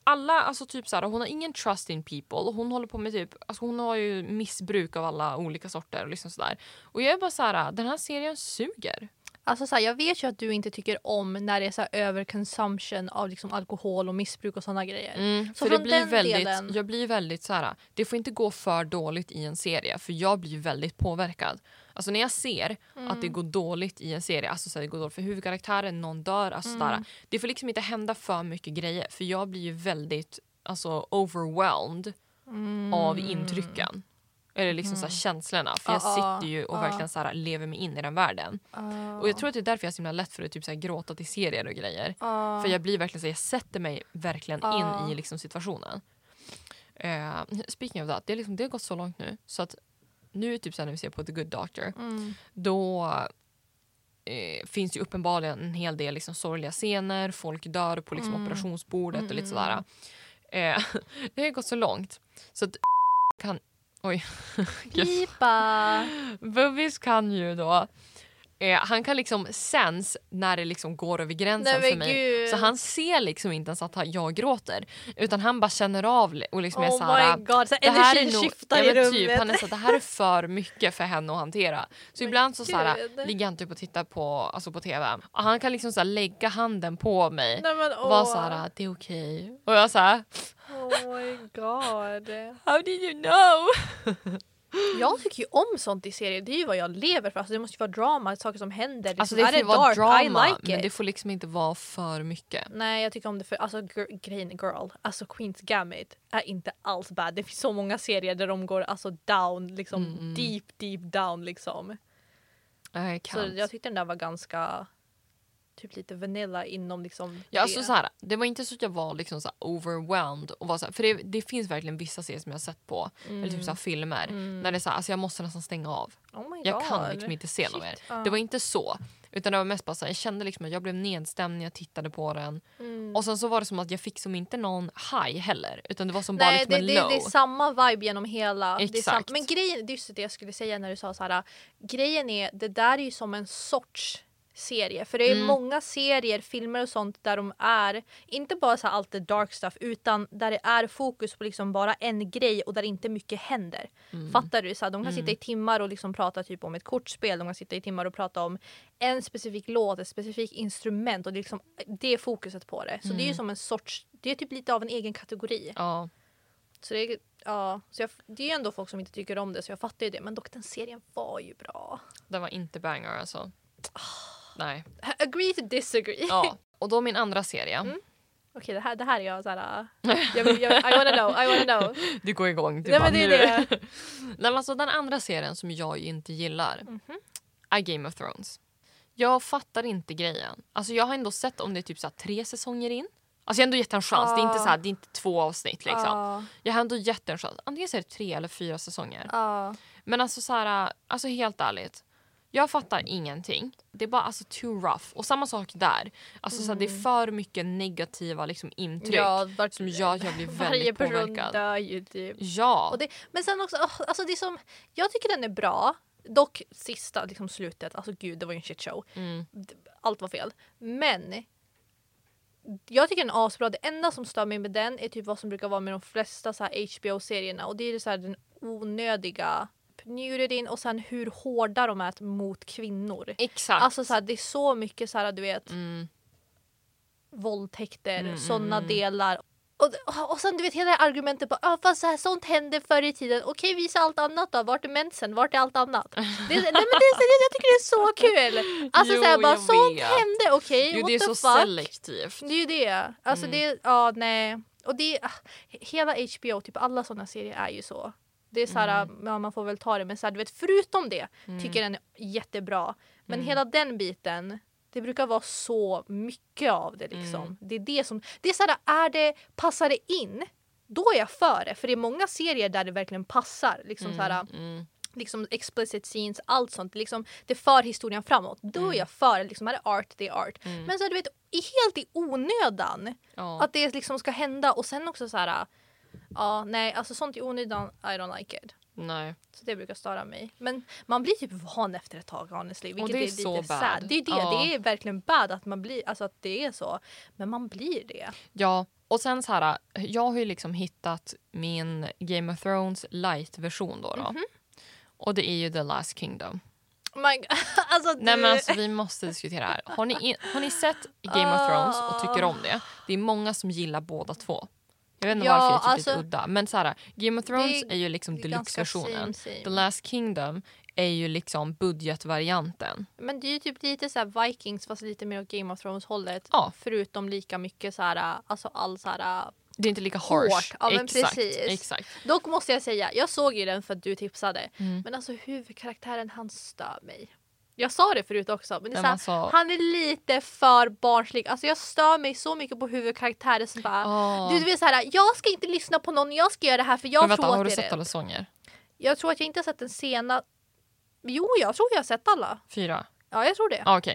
Speaker 1: Alla, alltså typ så här, hon har ingen trust in people. Och hon håller på med typ, alltså hon har ju missbruk av alla olika sorter. Och liksom så där. Och jag är bara så här, den här serien suger.
Speaker 2: Alltså, såhär, jag vet ju att du inte tycker om när det är såhär, överconsumption av liksom, alkohol och missbruk och sådana grejer. Så
Speaker 1: Mm. för det
Speaker 2: från
Speaker 1: blir
Speaker 2: den
Speaker 1: väldigt,
Speaker 2: delen-
Speaker 1: Jag blir väldigt så här, det får inte gå för dåligt i en serie för jag blir väldigt påverkad. Alltså när jag ser att
Speaker 2: Mm.
Speaker 1: det går dåligt i en serie, alltså så här, det går dåligt för huvudkaraktären, någon dör, alltså så
Speaker 2: Mm.
Speaker 1: där, det får liksom inte hända för mycket grejer för jag blir ju väldigt alltså, overwhelmed
Speaker 2: Mm.
Speaker 1: av intrycken. Eller liksom så här, känslorna. För jag
Speaker 2: Ja, ja,
Speaker 1: sitter ju och
Speaker 2: ja.
Speaker 1: verkligen så här, lever mig in i den världen.
Speaker 2: Ah.
Speaker 1: Och jag tror att det är därför jag har så himla lätt för att typ så här, gråta till serier och grejer.
Speaker 2: Ah.
Speaker 1: För jag blir verkligen så jag sätter mig verkligen in
Speaker 2: Ja.
Speaker 1: i liksom situationen. Uh, speaking of that, det, är liksom, det har gått så långt nu så att nu typ så här när vi ser på The Good Doctor
Speaker 2: Mm.
Speaker 1: då eh, finns ju uppenbarligen en hel del liksom, sorgliga scener, folk dör på liksom, operationsbordet och lite sådär. Eh, det har gått så långt så att kan, oj,
Speaker 2: Pipa.
Speaker 1: Bubbies kan ju då Eh, han kan liksom sens när det liksom går över gränsen
Speaker 2: Nej,
Speaker 1: för
Speaker 2: men
Speaker 1: mig.
Speaker 2: gud.
Speaker 1: Så han ser liksom inte ens att han- jag gråter. Utan han bara känner av li- och liksom är
Speaker 2: Oh
Speaker 1: såhär...
Speaker 2: my god, så
Speaker 1: Det här är
Speaker 2: energin
Speaker 1: nog,
Speaker 2: skiftar i
Speaker 1: ja, men
Speaker 2: rummet.
Speaker 1: typ, han är så, här, det här är för mycket för henne att hantera. Så
Speaker 2: Men
Speaker 1: ibland så, så här,
Speaker 2: gud.
Speaker 1: ligger han typ och tittar på, alltså på tv. Och han kan liksom så här, lägga handen på mig
Speaker 2: Nej, men,
Speaker 1: och vara
Speaker 2: åh.
Speaker 1: så här, "Ah, det är okej. Och jag så här,
Speaker 2: Oh my god.
Speaker 1: how did you know?
Speaker 2: Jag tycker ju om sånt i serier, det är ju vad jag lever för. Alltså, det måste ju vara drama, saker som händer.
Speaker 1: Alltså
Speaker 2: Liksom,
Speaker 1: det får vara
Speaker 2: dark?
Speaker 1: drama
Speaker 2: I like
Speaker 1: men
Speaker 2: it.
Speaker 1: det får liksom inte vara för mycket.
Speaker 2: Nej jag tycker om det för alltså gr- grejen girl, alltså Queens Gambit är inte alls bad. Det finns så många serier där de går alltså down, liksom
Speaker 1: Mm,
Speaker 2: deep deep down liksom.
Speaker 1: Jag
Speaker 2: Så
Speaker 1: kan.
Speaker 2: jag tyckte den där var ganska typ lite vanilla inom liksom
Speaker 1: Ja, alltså
Speaker 2: det.
Speaker 1: så här, det var inte så att jag var liksom så här overwhelmed. Och var så här, för det, det finns verkligen vissa serier som jag har sett på, eller
Speaker 2: Mm.
Speaker 1: typ så här filmer, när det är så här, alltså jag måste nästan stänga av.
Speaker 2: oh my
Speaker 1: Jag
Speaker 2: God.
Speaker 1: kan liksom inte se något mer.
Speaker 2: Shit, ja.
Speaker 1: Det var inte så. Utan det var mest bara så här, jag kände liksom att jag blev nedstämd när jag tittade på den.
Speaker 2: Mm.
Speaker 1: Och sen så var det som att jag fick som inte någon high heller. Utan det var som bara
Speaker 2: Nej,
Speaker 1: liksom
Speaker 2: det,
Speaker 1: en
Speaker 2: det,
Speaker 1: low.
Speaker 2: det är samma vibe genom hela. Det är sam-
Speaker 1: Exakt.
Speaker 2: men grejen, det är just det jag skulle säga när du sa så här. Grejen är, det där är ju som en sorts serie. För det är
Speaker 1: Mm.
Speaker 2: många serier, filmer och sånt där de är, inte bara så här allt det dark stuff, utan där det är fokus på liksom bara en grej och där inte mycket händer.
Speaker 1: Mm.
Speaker 2: Fattar du? Så här, de kan sitta i timmar och liksom prata typ om ett kortspel, de kan sitta i timmar och prata om en specifik låt, ett specifikt instrument och det är, liksom, det är fokuset på det. Så det
Speaker 1: Mm.
Speaker 2: är ju som en sorts, det är typ lite av en egen kategori.
Speaker 1: Ja.
Speaker 2: Så det, är- ja, så jag, det är ju ändå folk som inte tycker om det så jag fattar ju det. Men dock den serien var ju bra.
Speaker 1: Den var inte banger alltså.
Speaker 2: Ah.
Speaker 1: Nej.
Speaker 2: Agree to disagree.
Speaker 1: Ja. Och då min andra serie.
Speaker 2: Mm. Okej det här, det här är jag såhär... Jag, vill- jag, I wanna know, I wanna know.
Speaker 1: Du går igång. Du
Speaker 2: Nej
Speaker 1: bara,
Speaker 2: men det är
Speaker 1: nu.
Speaker 2: det.
Speaker 1: Nej, men alltså, den andra serien som jag ju inte gillar
Speaker 2: Mhm.
Speaker 1: är Game of Thrones. Jag fattar inte grejen. Alltså, jag har ändå sett om det är typ så här, tre säsonger in. Alltså, jag har ändå gett en chans. Det, är
Speaker 2: Ah.
Speaker 1: inte så här, det är inte två avsnitt. Liksom.
Speaker 2: Ja,
Speaker 1: Jag har ändå gett en chans. Antingen så är det tre eller fyra säsonger.
Speaker 2: ja.
Speaker 1: Men alltså, så här, alltså helt ärligt. Jag fattar ingenting. Det är bara alltså, too rough. Och samma sak där. Alltså, så här, det är för mycket negativa liksom, intryck
Speaker 2: Mm. Ja, vart-
Speaker 1: som gör att jag blir
Speaker 2: Varje
Speaker 1: väldigt
Speaker 2: person
Speaker 1: påverkad.
Speaker 2: dör ju typ.
Speaker 1: Ja.
Speaker 2: Och det, men sen också, åh, alltså det är som, jag tycker den är bra. Dock sista, liksom slutet, alltså gud det var ju en shit show.
Speaker 1: Mm.
Speaker 2: D- Allt var fel. Men jag tycker den är asbra. Det enda som stör mig med den är typ vad som brukar vara med de flesta så här HBO-serierna och det är så här den onödiga nudityn och sen hur hårda de är mot kvinnor.
Speaker 1: Exakt.
Speaker 2: Alltså så här, det är så mycket så här du vet
Speaker 1: mm.
Speaker 2: våldtäkter,
Speaker 1: Mm,
Speaker 2: såna
Speaker 1: mm, mm.
Speaker 2: delar. Och, och sen du vet hela det här argumentet på ah, fast så här, sånt hände förr i tiden. Okej visa allt annat då. Vart är mensen? Vart är allt annat? Det, nej, men det, är så- jag tycker det är så kul. Alltså
Speaker 1: Jo,
Speaker 2: så här, bara,
Speaker 1: jag
Speaker 2: sånt
Speaker 1: vet.
Speaker 2: hände. Okej
Speaker 1: Jo,
Speaker 2: what
Speaker 1: det är så
Speaker 2: the fuck.
Speaker 1: selektivt.
Speaker 2: Det är ju det. Alltså det, ja nej. Och det, ah, hela HBO, typ alla såna serier är ju så. Det är så här, ja, man får väl ta det men så här, du vet förutom det tycker jag den är jättebra. Men hela den biten, det brukar vara så mycket av det liksom. Det är det som, det är så här, är det, passar det in? Då är jag för det, för det är många serier där det verkligen passar. Liksom så här,
Speaker 1: Mm.
Speaker 2: liksom explicit scenes, allt sånt. Liksom, det för historien framåt. Då
Speaker 1: Mm.
Speaker 2: är jag för det. Liksom, är det art, det är art. Men så här, du vet, i- helt i onödan
Speaker 1: Ja.
Speaker 2: att det liksom ska hända och sen också så här. Ja, nej, alltså sånt i onödan, I don't like it.
Speaker 1: Nej.
Speaker 2: Så det brukar störa mig. Men man blir typ van efter ett tag honestly. Vilket
Speaker 1: det är
Speaker 2: är,
Speaker 1: så
Speaker 2: lite
Speaker 1: bad.
Speaker 2: sad. Det är ju det,
Speaker 1: Ja.
Speaker 2: det är verkligen bad att man blir, alltså att det är så. Men man blir det.
Speaker 1: Ja. Och sen så här, jag har ju liksom hittat min Game of Thrones light-version då. då.
Speaker 2: Mhm.
Speaker 1: Och det är ju The Last Kingdom.
Speaker 2: Oh my God. Alltså, du...
Speaker 1: Nej men alltså vi måste diskutera det här. Har ni, in, har ni sett Game of Thrones och tycker om det? Det är många som gillar båda två. Jag vet inte
Speaker 2: Ja,
Speaker 1: varför jag tycker det är
Speaker 2: alltså-
Speaker 1: udda. Men så här, Game of Thrones
Speaker 2: Det
Speaker 1: är ju liksom
Speaker 2: det är ganska
Speaker 1: deluxe-versionen.
Speaker 2: same, same.
Speaker 1: The Last Kingdom är ju liksom budgetvarianten.
Speaker 2: Men det är ju typ lite så här Vikings fast lite mer åt Game of Thrones hållet.
Speaker 1: Ja.
Speaker 2: Förutom lika mycket så här, alltså all så här.
Speaker 1: Det är inte lika harsh.
Speaker 2: Hårt. Ja, men
Speaker 1: exakt,
Speaker 2: precis.
Speaker 1: exakt.
Speaker 2: Dock måste jag säga, jag såg ju den för att du tipsade.
Speaker 1: Mm.
Speaker 2: Men alltså huvudkaraktären han stör mig. Jag sa det förut också men det är
Speaker 1: Men
Speaker 2: så här,
Speaker 1: alltså-
Speaker 2: han är lite för barnslig. Alltså jag stör mig så mycket på huvudkaraktärer som bara
Speaker 1: Ja.
Speaker 2: Du, du vet såhär, jag ska inte lyssna på någon, jag ska göra det här för jag
Speaker 1: ah. men vänta,
Speaker 2: tror
Speaker 1: har
Speaker 2: att
Speaker 1: du
Speaker 2: det
Speaker 1: sett
Speaker 2: är
Speaker 1: alla
Speaker 2: rätt.
Speaker 1: sånger?
Speaker 2: Jag tror att jag inte har sett den sena... Jo, jag tror jag har sett alla.
Speaker 1: Fyra?
Speaker 2: Ja, jag tror det.
Speaker 1: Ja, okej.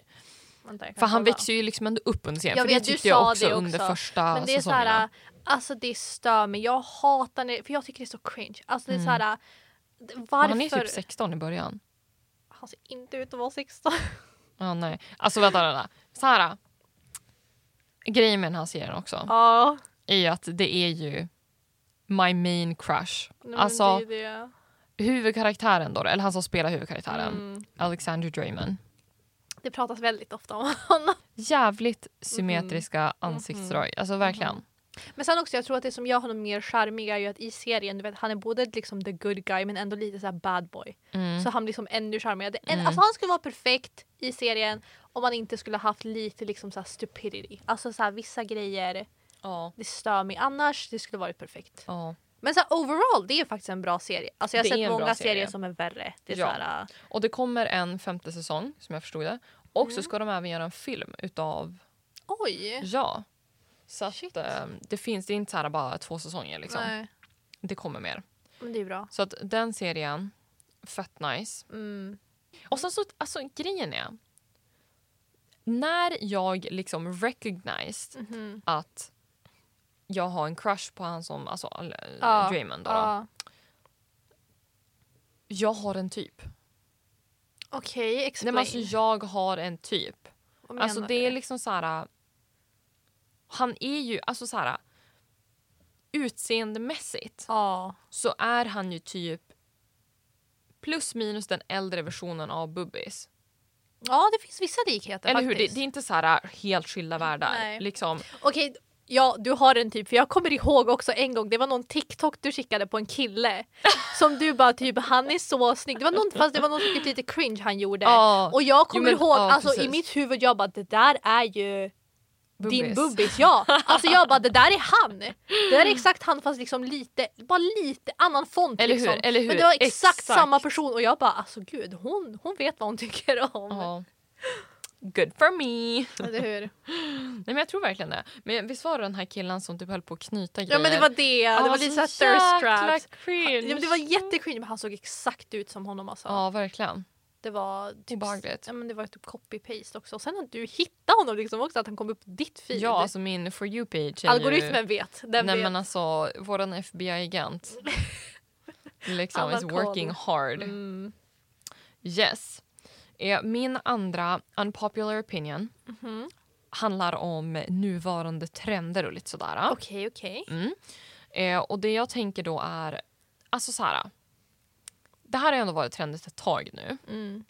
Speaker 2: Vänta, jag kan
Speaker 1: För han
Speaker 2: kolla.
Speaker 1: växer ju liksom ändå upp under serien.
Speaker 2: Jag
Speaker 1: för
Speaker 2: vet,
Speaker 1: det
Speaker 2: du
Speaker 1: tyckte jag
Speaker 2: sa
Speaker 1: också,
Speaker 2: det
Speaker 1: under
Speaker 2: också.
Speaker 1: första
Speaker 2: Men det är så
Speaker 1: säsongerna.
Speaker 2: här, alltså det stör mig. Jag hatar det, för jag tycker det är så cringe. Alltså det är
Speaker 1: Mm.
Speaker 2: så här, d- varför?
Speaker 1: typ han är typ 16 i början.
Speaker 2: Han ser inte ut att vara 16.
Speaker 1: Ja, nej. Alltså vänta, vänta. Sara. Grejen med den här serien också
Speaker 2: Ja.
Speaker 1: är ju att det är ju my main crush.
Speaker 2: nej, men
Speaker 1: alltså
Speaker 2: det är det.
Speaker 1: huvudkaraktären då, eller han som spelar huvudkaraktären,
Speaker 2: Mm.
Speaker 1: Alexander Draymond.
Speaker 2: Det pratas väldigt ofta om honom.
Speaker 1: Jävligt
Speaker 2: Mhm.
Speaker 1: symmetriska ansiktsdrag. Alltså verkligen.
Speaker 2: Men sen också, jag tror att det som gör honom mer charmig är ju att i serien, du vet, han är både liksom the good guy men ändå lite så här bad boy.
Speaker 1: Mm.
Speaker 2: Så han blir som ännu charmigare. En, Alltså han skulle vara perfekt i serien om han inte skulle haft lite liksom så här stupidity. Alltså så här, vissa grejer,
Speaker 1: Ja.
Speaker 2: det stör mig annars, det skulle varit perfekt.
Speaker 1: ja.
Speaker 2: Men så här, overall, det är faktiskt en bra serie. Alltså jag
Speaker 1: Det
Speaker 2: har
Speaker 1: är en
Speaker 2: sett
Speaker 1: bra
Speaker 2: många
Speaker 1: serie.
Speaker 2: serier som är värre. Det är
Speaker 1: Ja.
Speaker 2: så här, äh,
Speaker 1: Och det kommer en femte säsong som jag förstod det. Och
Speaker 2: Mm.
Speaker 1: så ska de även göra en film utav
Speaker 2: oj!
Speaker 1: Ja. Så att,
Speaker 2: Shit.
Speaker 1: ehm, det finns det är inte så här bara två säsonger. Liksom.
Speaker 2: Nej.
Speaker 1: Det kommer mer.
Speaker 2: Men det är bra.
Speaker 1: Så att den serien, fett nice.
Speaker 2: Mm.
Speaker 1: Och sen så, alltså grejen är. När jag liksom recognized
Speaker 2: Mhm.
Speaker 1: att jag har en crush på han som, alltså all-
Speaker 2: Ja.
Speaker 1: Draymond då, då.
Speaker 2: Ja.
Speaker 1: Jag har en typ.
Speaker 2: Okej,
Speaker 1: Nej,
Speaker 2: explain.
Speaker 1: men alltså, jag har en typ.
Speaker 2: Vad
Speaker 1: Alltså
Speaker 2: menar
Speaker 1: det
Speaker 2: du?
Speaker 1: är liksom så här. Han är ju, alltså så här. Utseendemässigt
Speaker 2: Ja.
Speaker 1: så är han ju typ plus minus den äldre versionen av Bubbis.
Speaker 2: ja, det finns vissa likheter
Speaker 1: Eller hur?
Speaker 2: faktiskt. Mm,
Speaker 1: Det, det är inte så här äh, helt skilda världar.
Speaker 2: Nej.
Speaker 1: Liksom.
Speaker 2: Okej, ja du har en typ. För jag kommer ihåg också en gång, det var någon TikTok du skickade på en kille. Som du bara typ, han är så snygg. Det var någon, fast det var någon som tyckte lite cringe han gjorde.
Speaker 1: Ja.
Speaker 2: Och jag kommer
Speaker 1: men-
Speaker 2: ihåg,
Speaker 1: ja,
Speaker 2: alltså
Speaker 1: precis.
Speaker 2: i mitt huvud, jag bara det där är ju din
Speaker 1: Bubbis.
Speaker 2: bubbis. Ja. Alltså jag bara det där är han. Det där är exakt han fast liksom lite, bara lite annan font.
Speaker 1: Eller
Speaker 2: liksom.
Speaker 1: hur, eller hur?
Speaker 2: Men det var exakt,
Speaker 1: Exakt.
Speaker 2: samma person och jag bara alltså gud hon, hon vet vad hon tycker om.
Speaker 1: Ja. Good for me.
Speaker 2: Eller hur?
Speaker 1: Nej, men jag tror verkligen det. Men visst var det den här killen som typ höll på att knyta grejer?
Speaker 2: Ja men det var det, Alltså,
Speaker 1: Ja,
Speaker 2: det var
Speaker 1: så
Speaker 2: lite såhär
Speaker 1: jäkla
Speaker 2: thirst traps.
Speaker 1: cringe.
Speaker 2: Ja, men det var jättecringe men han såg exakt ut som honom alltså.
Speaker 1: Ja, verkligen.
Speaker 2: Det var typ,
Speaker 1: Obehagligt.
Speaker 2: ja, men det var typ copy-paste också. Och sen att du hittade honom liksom också, att han kom upp på ditt feed.
Speaker 1: Ja, alltså min For You-page är ju...
Speaker 2: Algoritmen vet. Den
Speaker 1: Nej
Speaker 2: vet.
Speaker 1: men alltså, våran FBI-agent liksom
Speaker 2: Alla
Speaker 1: is working hard.
Speaker 2: Mm.
Speaker 1: Yes. Eh, Min andra unpopular opinion
Speaker 2: Mhm.
Speaker 1: handlar om nuvarande trender och lite sådär.
Speaker 2: Okej, okej.
Speaker 1: Mm. Eh, och det jag tänker då är, alltså så här. Det här har ändå varit trendigt ett tag nu
Speaker 2: Mm.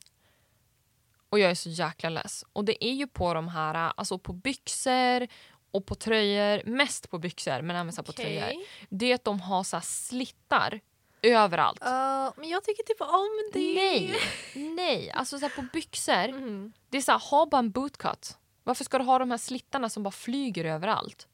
Speaker 1: och jag är så jäkla less. Och det är ju på de här, alltså på byxor och på tröjor, mest på byxor men även så här på
Speaker 2: Okej.
Speaker 1: tröjor. Det är att de har så här slittar överallt.
Speaker 2: Ja, men jag tycker typ om det.
Speaker 1: Nej, nej. Alltså så här, på byxor,
Speaker 2: Mm.
Speaker 1: det är så här, ha bara en bootcut. Varför ska du ha de här slittarna som bara flyger överallt?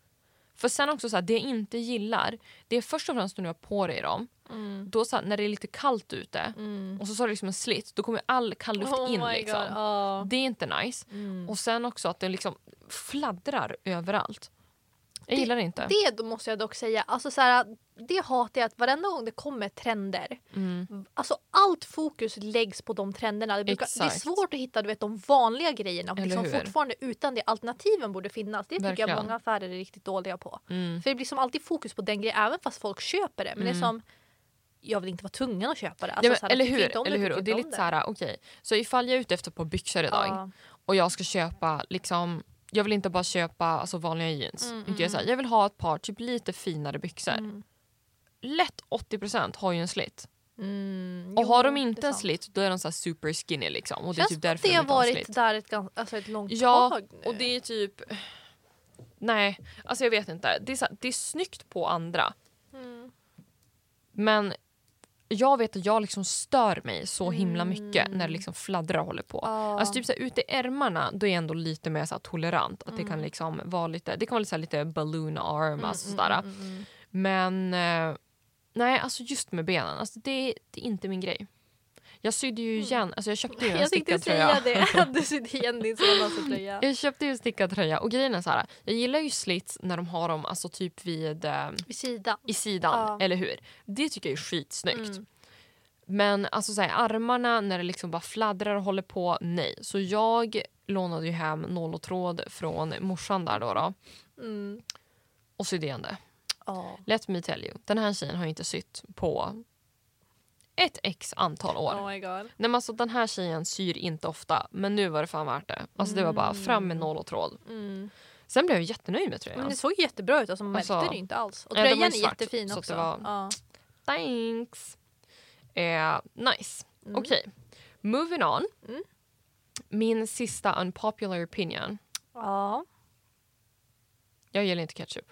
Speaker 1: För sen också så här, det jag inte gillar, det är först och främst när du har på dig dem,
Speaker 2: Mm.
Speaker 1: då så här, när det är lite kallt ute
Speaker 2: Mm.
Speaker 1: och så har du liksom en slitt, då kommer all kall luft
Speaker 2: Oh
Speaker 1: in
Speaker 2: my
Speaker 1: liksom.
Speaker 2: God. ja.
Speaker 1: Det är inte nice.
Speaker 2: Mm.
Speaker 1: Och sen också att det liksom fladdrar överallt. Jag gillar det inte.
Speaker 2: Det då måste jag dock säga, alltså så här, det hatar jag att varenda gång det kommer trender
Speaker 1: Mm.
Speaker 2: Alltså allt fokus läggs på de trenderna. Det, brukar, det är
Speaker 1: Exakt.
Speaker 2: svårt att hitta du vet, de vanliga grejerna och
Speaker 1: Eller
Speaker 2: liksom
Speaker 1: hur?
Speaker 2: fortfarande utan det alternativen borde finnas. Det tycker
Speaker 1: Verkligen.
Speaker 2: jag många affärer är riktigt dåliga på.
Speaker 1: Mm.
Speaker 2: För det blir som alltid fokus på den grejen även fast folk köper det. Men det är som, jag vill inte vara tvungen att köpa det. Alltså,
Speaker 1: ja,
Speaker 2: så
Speaker 1: men,
Speaker 2: här,
Speaker 1: eller
Speaker 2: tycker inte
Speaker 1: hur?
Speaker 2: om
Speaker 1: Eller hur?
Speaker 2: tycker
Speaker 1: Och det är
Speaker 2: inte
Speaker 1: lite
Speaker 2: om
Speaker 1: så här, okej. Så ifall jag är ute efter ett par byxor idag
Speaker 2: Ja.
Speaker 1: och jag ska köpa liksom jag vill inte bara köpa alltså, vanliga jeans.
Speaker 2: Mm,
Speaker 1: inte jag, så här, jag vill ha ett par typ lite finare byxor.
Speaker 2: Mm.
Speaker 1: Lätt 80 har ju en slit.
Speaker 2: Mm,
Speaker 1: Och
Speaker 2: jo,
Speaker 1: har de
Speaker 2: det är
Speaker 1: inte en
Speaker 2: sant.
Speaker 1: slit då är de så här super skinny. Liksom. Och det är
Speaker 2: Känns
Speaker 1: typ
Speaker 2: som att
Speaker 1: därför
Speaker 2: det
Speaker 1: de
Speaker 2: har
Speaker 1: inte har en
Speaker 2: varit
Speaker 1: slit.
Speaker 2: där ett, gans- alltså, ett långt
Speaker 1: Ja,
Speaker 2: tag nu.
Speaker 1: och det är typ... Nej, alltså jag vet inte. Det är, så här, det är snyggt på andra.
Speaker 2: Mm.
Speaker 1: Men jag vet att jag liksom stör mig så himla mycket
Speaker 2: Mm.
Speaker 1: när det liksom fladdrar och håller på.
Speaker 2: Ja.
Speaker 1: Alltså typ så här, ute i ärmarna då är jag ändå lite mer så här, tolerant. Att Det kan liksom vara lite, det kan vara lite, så här, lite balloon arm. alltså, sådär.
Speaker 2: Mm. Mm, mm, mm.
Speaker 1: Men eh, nej, alltså just med benen. Alltså, det, det är inte min grej. Jag sydde ju igen, alltså jag köpte ju en
Speaker 2: Mm. Jag tänkte
Speaker 1: stickad
Speaker 2: säga
Speaker 1: tröja.
Speaker 2: det. Du sitter igen din sån tröja.
Speaker 1: Jag köpte ju en stickad tröja och grejen är så här, jag gillar ju slits när de har dem alltså typ vid eh,
Speaker 2: Vid sidan.
Speaker 1: i sidan,
Speaker 2: Ja.
Speaker 1: eller hur? Det tycker jag är skitsnyggt.
Speaker 2: Mm.
Speaker 1: Men alltså så här, armarna när det liksom bara fladdrar och håller på, nej. Så jag lånade ju hem nål och tråd från morsan där då, då
Speaker 2: Mm.
Speaker 1: och sydde igen det.
Speaker 2: Ja.
Speaker 1: Let me tell you, den här tjejen har ju inte sytt på ett x antal år.
Speaker 2: Oh my god.
Speaker 1: Nej, men alltså, den här tjejen syr inte ofta, men nu var det fan värt det. Alltså, Det var bara fram med nål och tråd.
Speaker 2: Mm.
Speaker 1: Sen blev jag jättenöjd med
Speaker 2: Men
Speaker 1: tröjan.
Speaker 2: det såg jättebra ut, alltså, man märkte
Speaker 1: Alltså,
Speaker 2: det inte alls. Och
Speaker 1: nej, den var
Speaker 2: tröjan är
Speaker 1: ju svart,
Speaker 2: jättefin
Speaker 1: så att
Speaker 2: också.
Speaker 1: det var-
Speaker 2: Ja.
Speaker 1: Thanks. Eh, nice.
Speaker 2: Mm.
Speaker 1: Okej, moving on.
Speaker 2: Mm.
Speaker 1: Min sista unpopular opinion.
Speaker 2: ja.
Speaker 1: Jag gillar inte ketchup.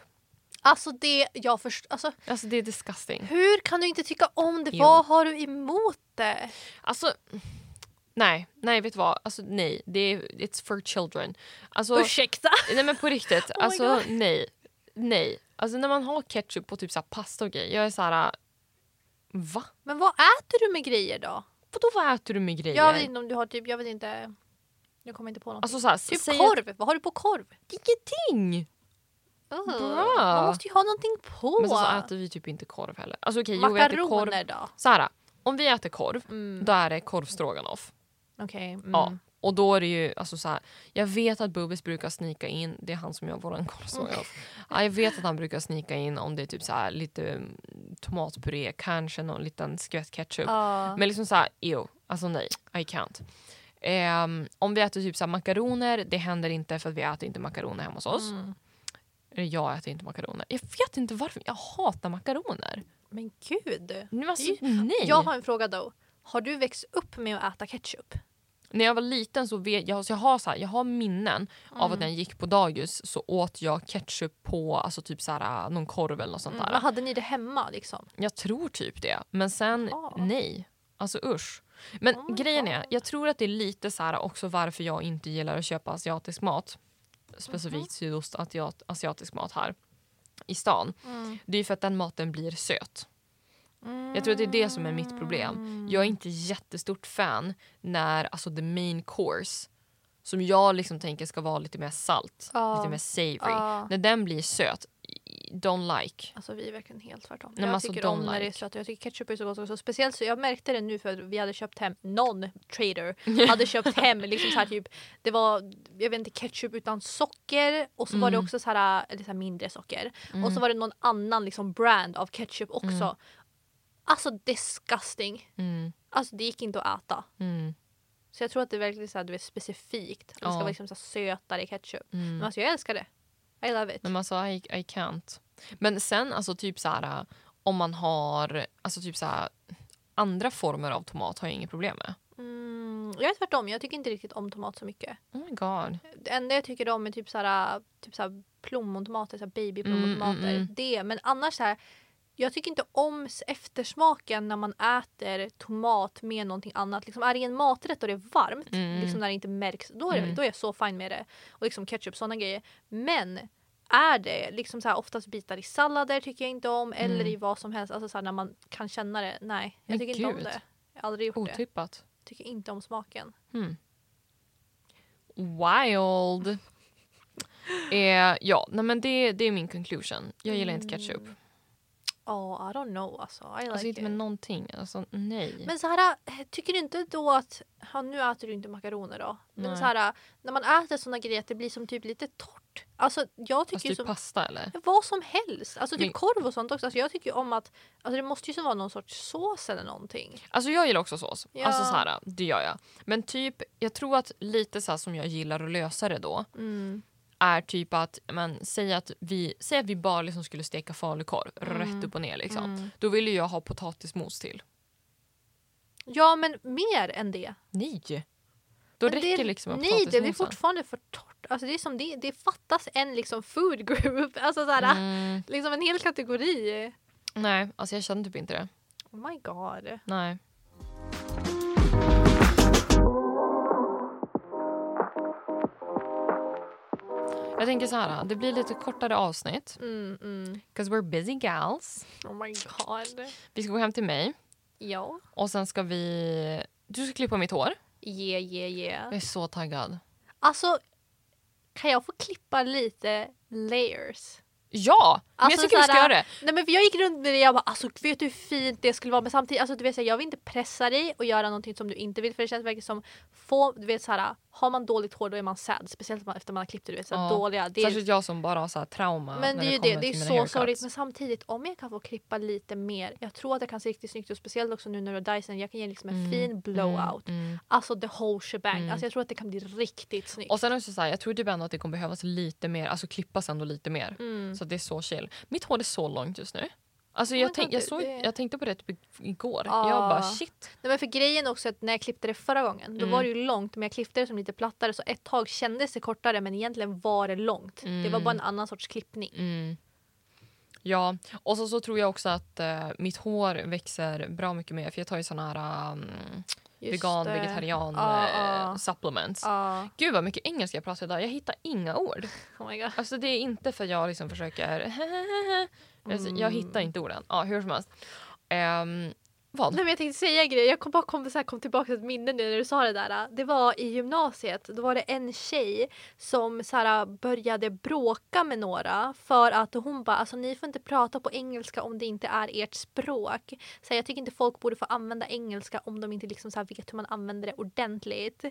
Speaker 2: Alltså det, jag förstår. Alltså,
Speaker 1: Alltså det är disgusting.
Speaker 2: hur kan du inte tycka om det?
Speaker 1: Jo.
Speaker 2: Vad har du emot det?
Speaker 1: Alltså, nej, nej vet du vad? Alltså nej, det är, it's for children. Alltså,
Speaker 2: Ursäkta? Oh
Speaker 1: nej men på riktigt,
Speaker 2: my
Speaker 1: alltså nej, nej. Alltså när man har ketchup på typ så här pasta och grejer, jag är så här, va?
Speaker 2: Men vad äter du med grejer då?
Speaker 1: Vadå vad äter du med grejer?
Speaker 2: Jag vet inte om du har typ, jag vet inte. Jag kommer inte på något.
Speaker 1: Alltså så här,
Speaker 2: typ
Speaker 1: säg
Speaker 2: korv, vad har du på korv?
Speaker 1: Ingenting! Bra.
Speaker 2: Man måste ju ha någonting på.
Speaker 1: Men sen så äter vi typ inte korv heller. Alltså okej, jo jag äter korv.
Speaker 2: Makaroner då?
Speaker 1: Så här, om vi äter korv,
Speaker 2: Mm.
Speaker 1: då är det korvstroganoff.
Speaker 2: Okej. mm.
Speaker 1: Ja. Och då är det ju, alltså så här, jag vet att Bubbis brukar snika in, det är han som gör våran korvstroganoff.
Speaker 2: Mm.
Speaker 1: Ja, jag vet att han brukar snika in om det är typ så här, lite mm, tomatpuré, kanske någon liten skvätt ketchup.
Speaker 2: Ja.
Speaker 1: Men liksom så här, ew, alltså nej, I can't. Ehm, om vi äter typ så här makaroner, det händer inte för att vi äter inte makaroner hemma hos oss.
Speaker 2: Mm.
Speaker 1: Eller jag äter inte makaroner. Jag vet inte varför, jag hatar makaroner.
Speaker 2: Men gud.
Speaker 1: Men alltså,
Speaker 2: Det
Speaker 1: nej.
Speaker 2: Jag har en fråga då. Har du växt upp med att äta ketchup?
Speaker 1: När jag var liten så vet jag, så jag har så här, jag har minnen av
Speaker 2: Mm.
Speaker 1: att när jag gick på dagis så åt jag ketchup på alltså typ så här, någon korv eller något sånt där.
Speaker 2: Mm. Hade ni det hemma liksom?
Speaker 1: Jag tror typ det. Men sen
Speaker 2: Jaha.
Speaker 1: nej. Alltså usch. Men
Speaker 2: Oh my
Speaker 1: grejen är,
Speaker 2: God.
Speaker 1: jag tror att det är lite så här också varför jag inte gillar att köpa asiatisk mat. Specifikt
Speaker 2: Mm-hmm.
Speaker 1: sydostasiatisk mat här i stan. Det är ju för att den maten blir söt. Mm.
Speaker 2: Mm.
Speaker 1: Jag tror att det är det som är mitt problem. Jag är inte jättestort fan när alltså the main course som jag liksom tänker ska vara lite mer salt,
Speaker 2: Ja.
Speaker 1: lite mer savory.
Speaker 2: Ja.
Speaker 1: När den blir söt, don't like.
Speaker 2: Alltså vi är verkligen helt tvärtom.
Speaker 1: men
Speaker 2: jag
Speaker 1: alltså,
Speaker 2: tycker
Speaker 1: don't
Speaker 2: om när det är
Speaker 1: like.
Speaker 2: sött. Jag tycker ketchup är så gott också. Speciellt så jag märkte det nu för att vi hade köpt hem, någon trader hade köpt hem liksom så här typ, det var, jag vet inte, ketchup utan socker och så var
Speaker 1: Mm.
Speaker 2: det också så här, eller så här mindre socker. Och så var det någon annan liksom brand av ketchup också. Alltså disgusting.
Speaker 1: Mm,
Speaker 2: Alltså det gick inte att äta.
Speaker 1: mm,
Speaker 2: Så jag tror att det är verkligen så här, du vet, specifikt. Att Det ska
Speaker 1: Ja.
Speaker 2: vara liksom så här sötare ketchup.
Speaker 1: mm.
Speaker 2: Men alltså jag älskar det. I love it.
Speaker 1: Nej, men alltså, I, I can't. Men sen alltså typ så här om man har alltså typ så här andra former av tomat har jag inget problem med.
Speaker 2: Mm, jag är tvärtom, jag tycker inte riktigt om tomat så mycket.
Speaker 1: Oh my god.
Speaker 2: Det enda jag tycker om är typ såhär, typ såhär plommontomater, såhär babyplommontomater.
Speaker 1: Mm, mm, mm.
Speaker 2: Det, men annars såhär, jag tycker inte om s- eftersmaken när man äter tomat med någonting annat. Liksom, är det en maträtt och det är varmt,
Speaker 1: Mm.
Speaker 2: liksom när det inte märks, då är, det-
Speaker 1: Mm.
Speaker 2: då är jag så fin med det. Och liksom ketchup, sådana grejer. Men är det liksom såhär, oftast bitar i sallader tycker jag inte om, eller
Speaker 1: Mm.
Speaker 2: i vad som helst. Alltså såhär, när man kan känna det. Nej, jag
Speaker 1: Men
Speaker 2: tycker inte om
Speaker 1: gud.
Speaker 2: det. Jag har aldrig gjort det.
Speaker 1: Otippat.
Speaker 2: Tycker inte om smaken.
Speaker 1: Wild. Eh, ja, nej, men det, det är min conclusion. Jag gillar inte ketchup.
Speaker 2: Oh, I don't know alltså. I like
Speaker 1: Alltså inte
Speaker 2: it.
Speaker 1: med någonting. Alltså nej.
Speaker 2: Men så här, eh, tycker du inte då att, ja, nu äter du inte makaroner då, men
Speaker 1: Nej.
Speaker 2: så här, när man äter såna grejer att det blir som typ lite torrt. Alltså jag
Speaker 1: alltså
Speaker 2: tycker ju
Speaker 1: typ
Speaker 2: som,
Speaker 1: pasta eller?
Speaker 2: vad som helst, alltså typ
Speaker 1: Men-
Speaker 2: korv och sånt också. Alltså, jag tycker ju om att, alltså det måste ju som vara någon sorts sås eller någonting.
Speaker 1: Alltså jag gillar också sås.
Speaker 2: Ja.
Speaker 1: Alltså så här, det gör jag. Men typ, jag tror att lite så här som jag gillar att lösa det då
Speaker 2: Mm.
Speaker 1: är typ att, men, säg, att vi, säg att vi bara liksom skulle steka falukorv
Speaker 2: Mm.
Speaker 1: rätt upp och ner. Liksom.
Speaker 2: Mm.
Speaker 1: Då vill ju jag ha potatismos till.
Speaker 2: Ja men mer än det.
Speaker 1: Nej! Då
Speaker 2: men
Speaker 1: räcker
Speaker 2: det,
Speaker 1: liksom med
Speaker 2: Nej det blir
Speaker 1: potatismosen.
Speaker 2: fortfarande för torrt. Alltså det är som det, det fattas en liksom food group, alltså så här,
Speaker 1: Mm,
Speaker 2: liksom en hel kategori.
Speaker 1: nej, alltså jag känner typ inte det.
Speaker 2: Oh my god.
Speaker 1: Nej. Jag tänker så här, det blir lite kortare avsnitt.
Speaker 2: Mm, mm.
Speaker 1: Cause we're busy gals.
Speaker 2: Oh my god.
Speaker 1: Vi ska gå hem till mig
Speaker 2: Ja.
Speaker 1: och sen ska vi... Du ska klippa mitt hår.
Speaker 2: Yeah, yeah,
Speaker 1: Jag
Speaker 2: yeah.
Speaker 1: är så taggad.
Speaker 2: Alltså, kan jag få klippa lite layers?
Speaker 1: Ja, men
Speaker 2: Alltså,
Speaker 1: jag tycker vi ska
Speaker 2: såhär,
Speaker 1: göra det.
Speaker 2: Nej men för jag gick runt med det jag bara alltså vet du hur fint det skulle vara men samtidigt alltså du vet såhär, jag vill inte pressa dig och göra någonting som du inte vill för det känns verkligen som få, du vet såhär har man dåligt hår då är man sad speciellt om man- efter man har klippt det du vet såhär
Speaker 1: Ja,
Speaker 2: dåliga det är,
Speaker 1: Särskilt jag som bara har så här trauma
Speaker 2: men
Speaker 1: när
Speaker 2: det är ju
Speaker 1: kommer
Speaker 2: det, det är
Speaker 1: till mina
Speaker 2: så
Speaker 1: haircuts.
Speaker 2: sorgligt men samtidigt om jag kan få klippa lite mer jag tror att det kan se riktigt snyggt ut speciellt också nu när du har Dyson jag kan ge liksom en
Speaker 1: Mm,
Speaker 2: fin blowout
Speaker 1: Mm.
Speaker 2: alltså the whole shebang
Speaker 1: Mm.
Speaker 2: alltså jag tror att det kan bli riktigt snyggt.
Speaker 1: Och sen också så här, jag tror typ ändå att det kommer behövas lite mer, alltså klippas ändå lite mer.
Speaker 2: Mm.
Speaker 1: Så att det är så chill. Mitt hår är så långt just nu. Alltså
Speaker 2: Oh
Speaker 1: jag,
Speaker 2: my
Speaker 1: tänk,
Speaker 2: God,
Speaker 1: jag,
Speaker 2: det-
Speaker 1: såg,
Speaker 2: det-
Speaker 1: jag tänkte på det typ igår.
Speaker 2: Ja.
Speaker 1: Jag bara shit.
Speaker 2: Nej, men för grejen också att när jag klippte det förra gången då
Speaker 1: Mm.
Speaker 2: var det ju långt men jag klippte det som lite plattare så ett tag kändes det kortare men egentligen var det långt. Det var
Speaker 1: Mm.
Speaker 2: bara en annan sorts klippning.
Speaker 1: Mm. Ja, och så, så tror jag också att eh, mitt hår växer bra mycket mer för jag tar ju såna här um,
Speaker 2: Just
Speaker 1: vegan,
Speaker 2: det.
Speaker 1: vegetarian
Speaker 2: Ja,
Speaker 1: eh,
Speaker 2: ja.
Speaker 1: supplements.
Speaker 2: Ja.
Speaker 1: Gud vad mycket engelska jag pratar idag. Jag hittar inga ord.
Speaker 2: Oh my god.
Speaker 1: Alltså det är inte för jag liksom försöker... alltså, jag hittar inte orden. Ja, hur som helst. Ehm, vad?
Speaker 2: Mm. Nej, men jag tänkte säga en grej. Jag kom, bara kom, så här, kom tillbaka till ett minne nu när du sa det där. Det var i gymnasiet. Då var det en tjej som så här, började bråka med några för att hon bara alltså, ni får inte prata på engelska om det inte är ert språk. Så här, jag tycker inte folk borde få använda engelska om de inte liksom, så här, vet hur man använder det ordentligt.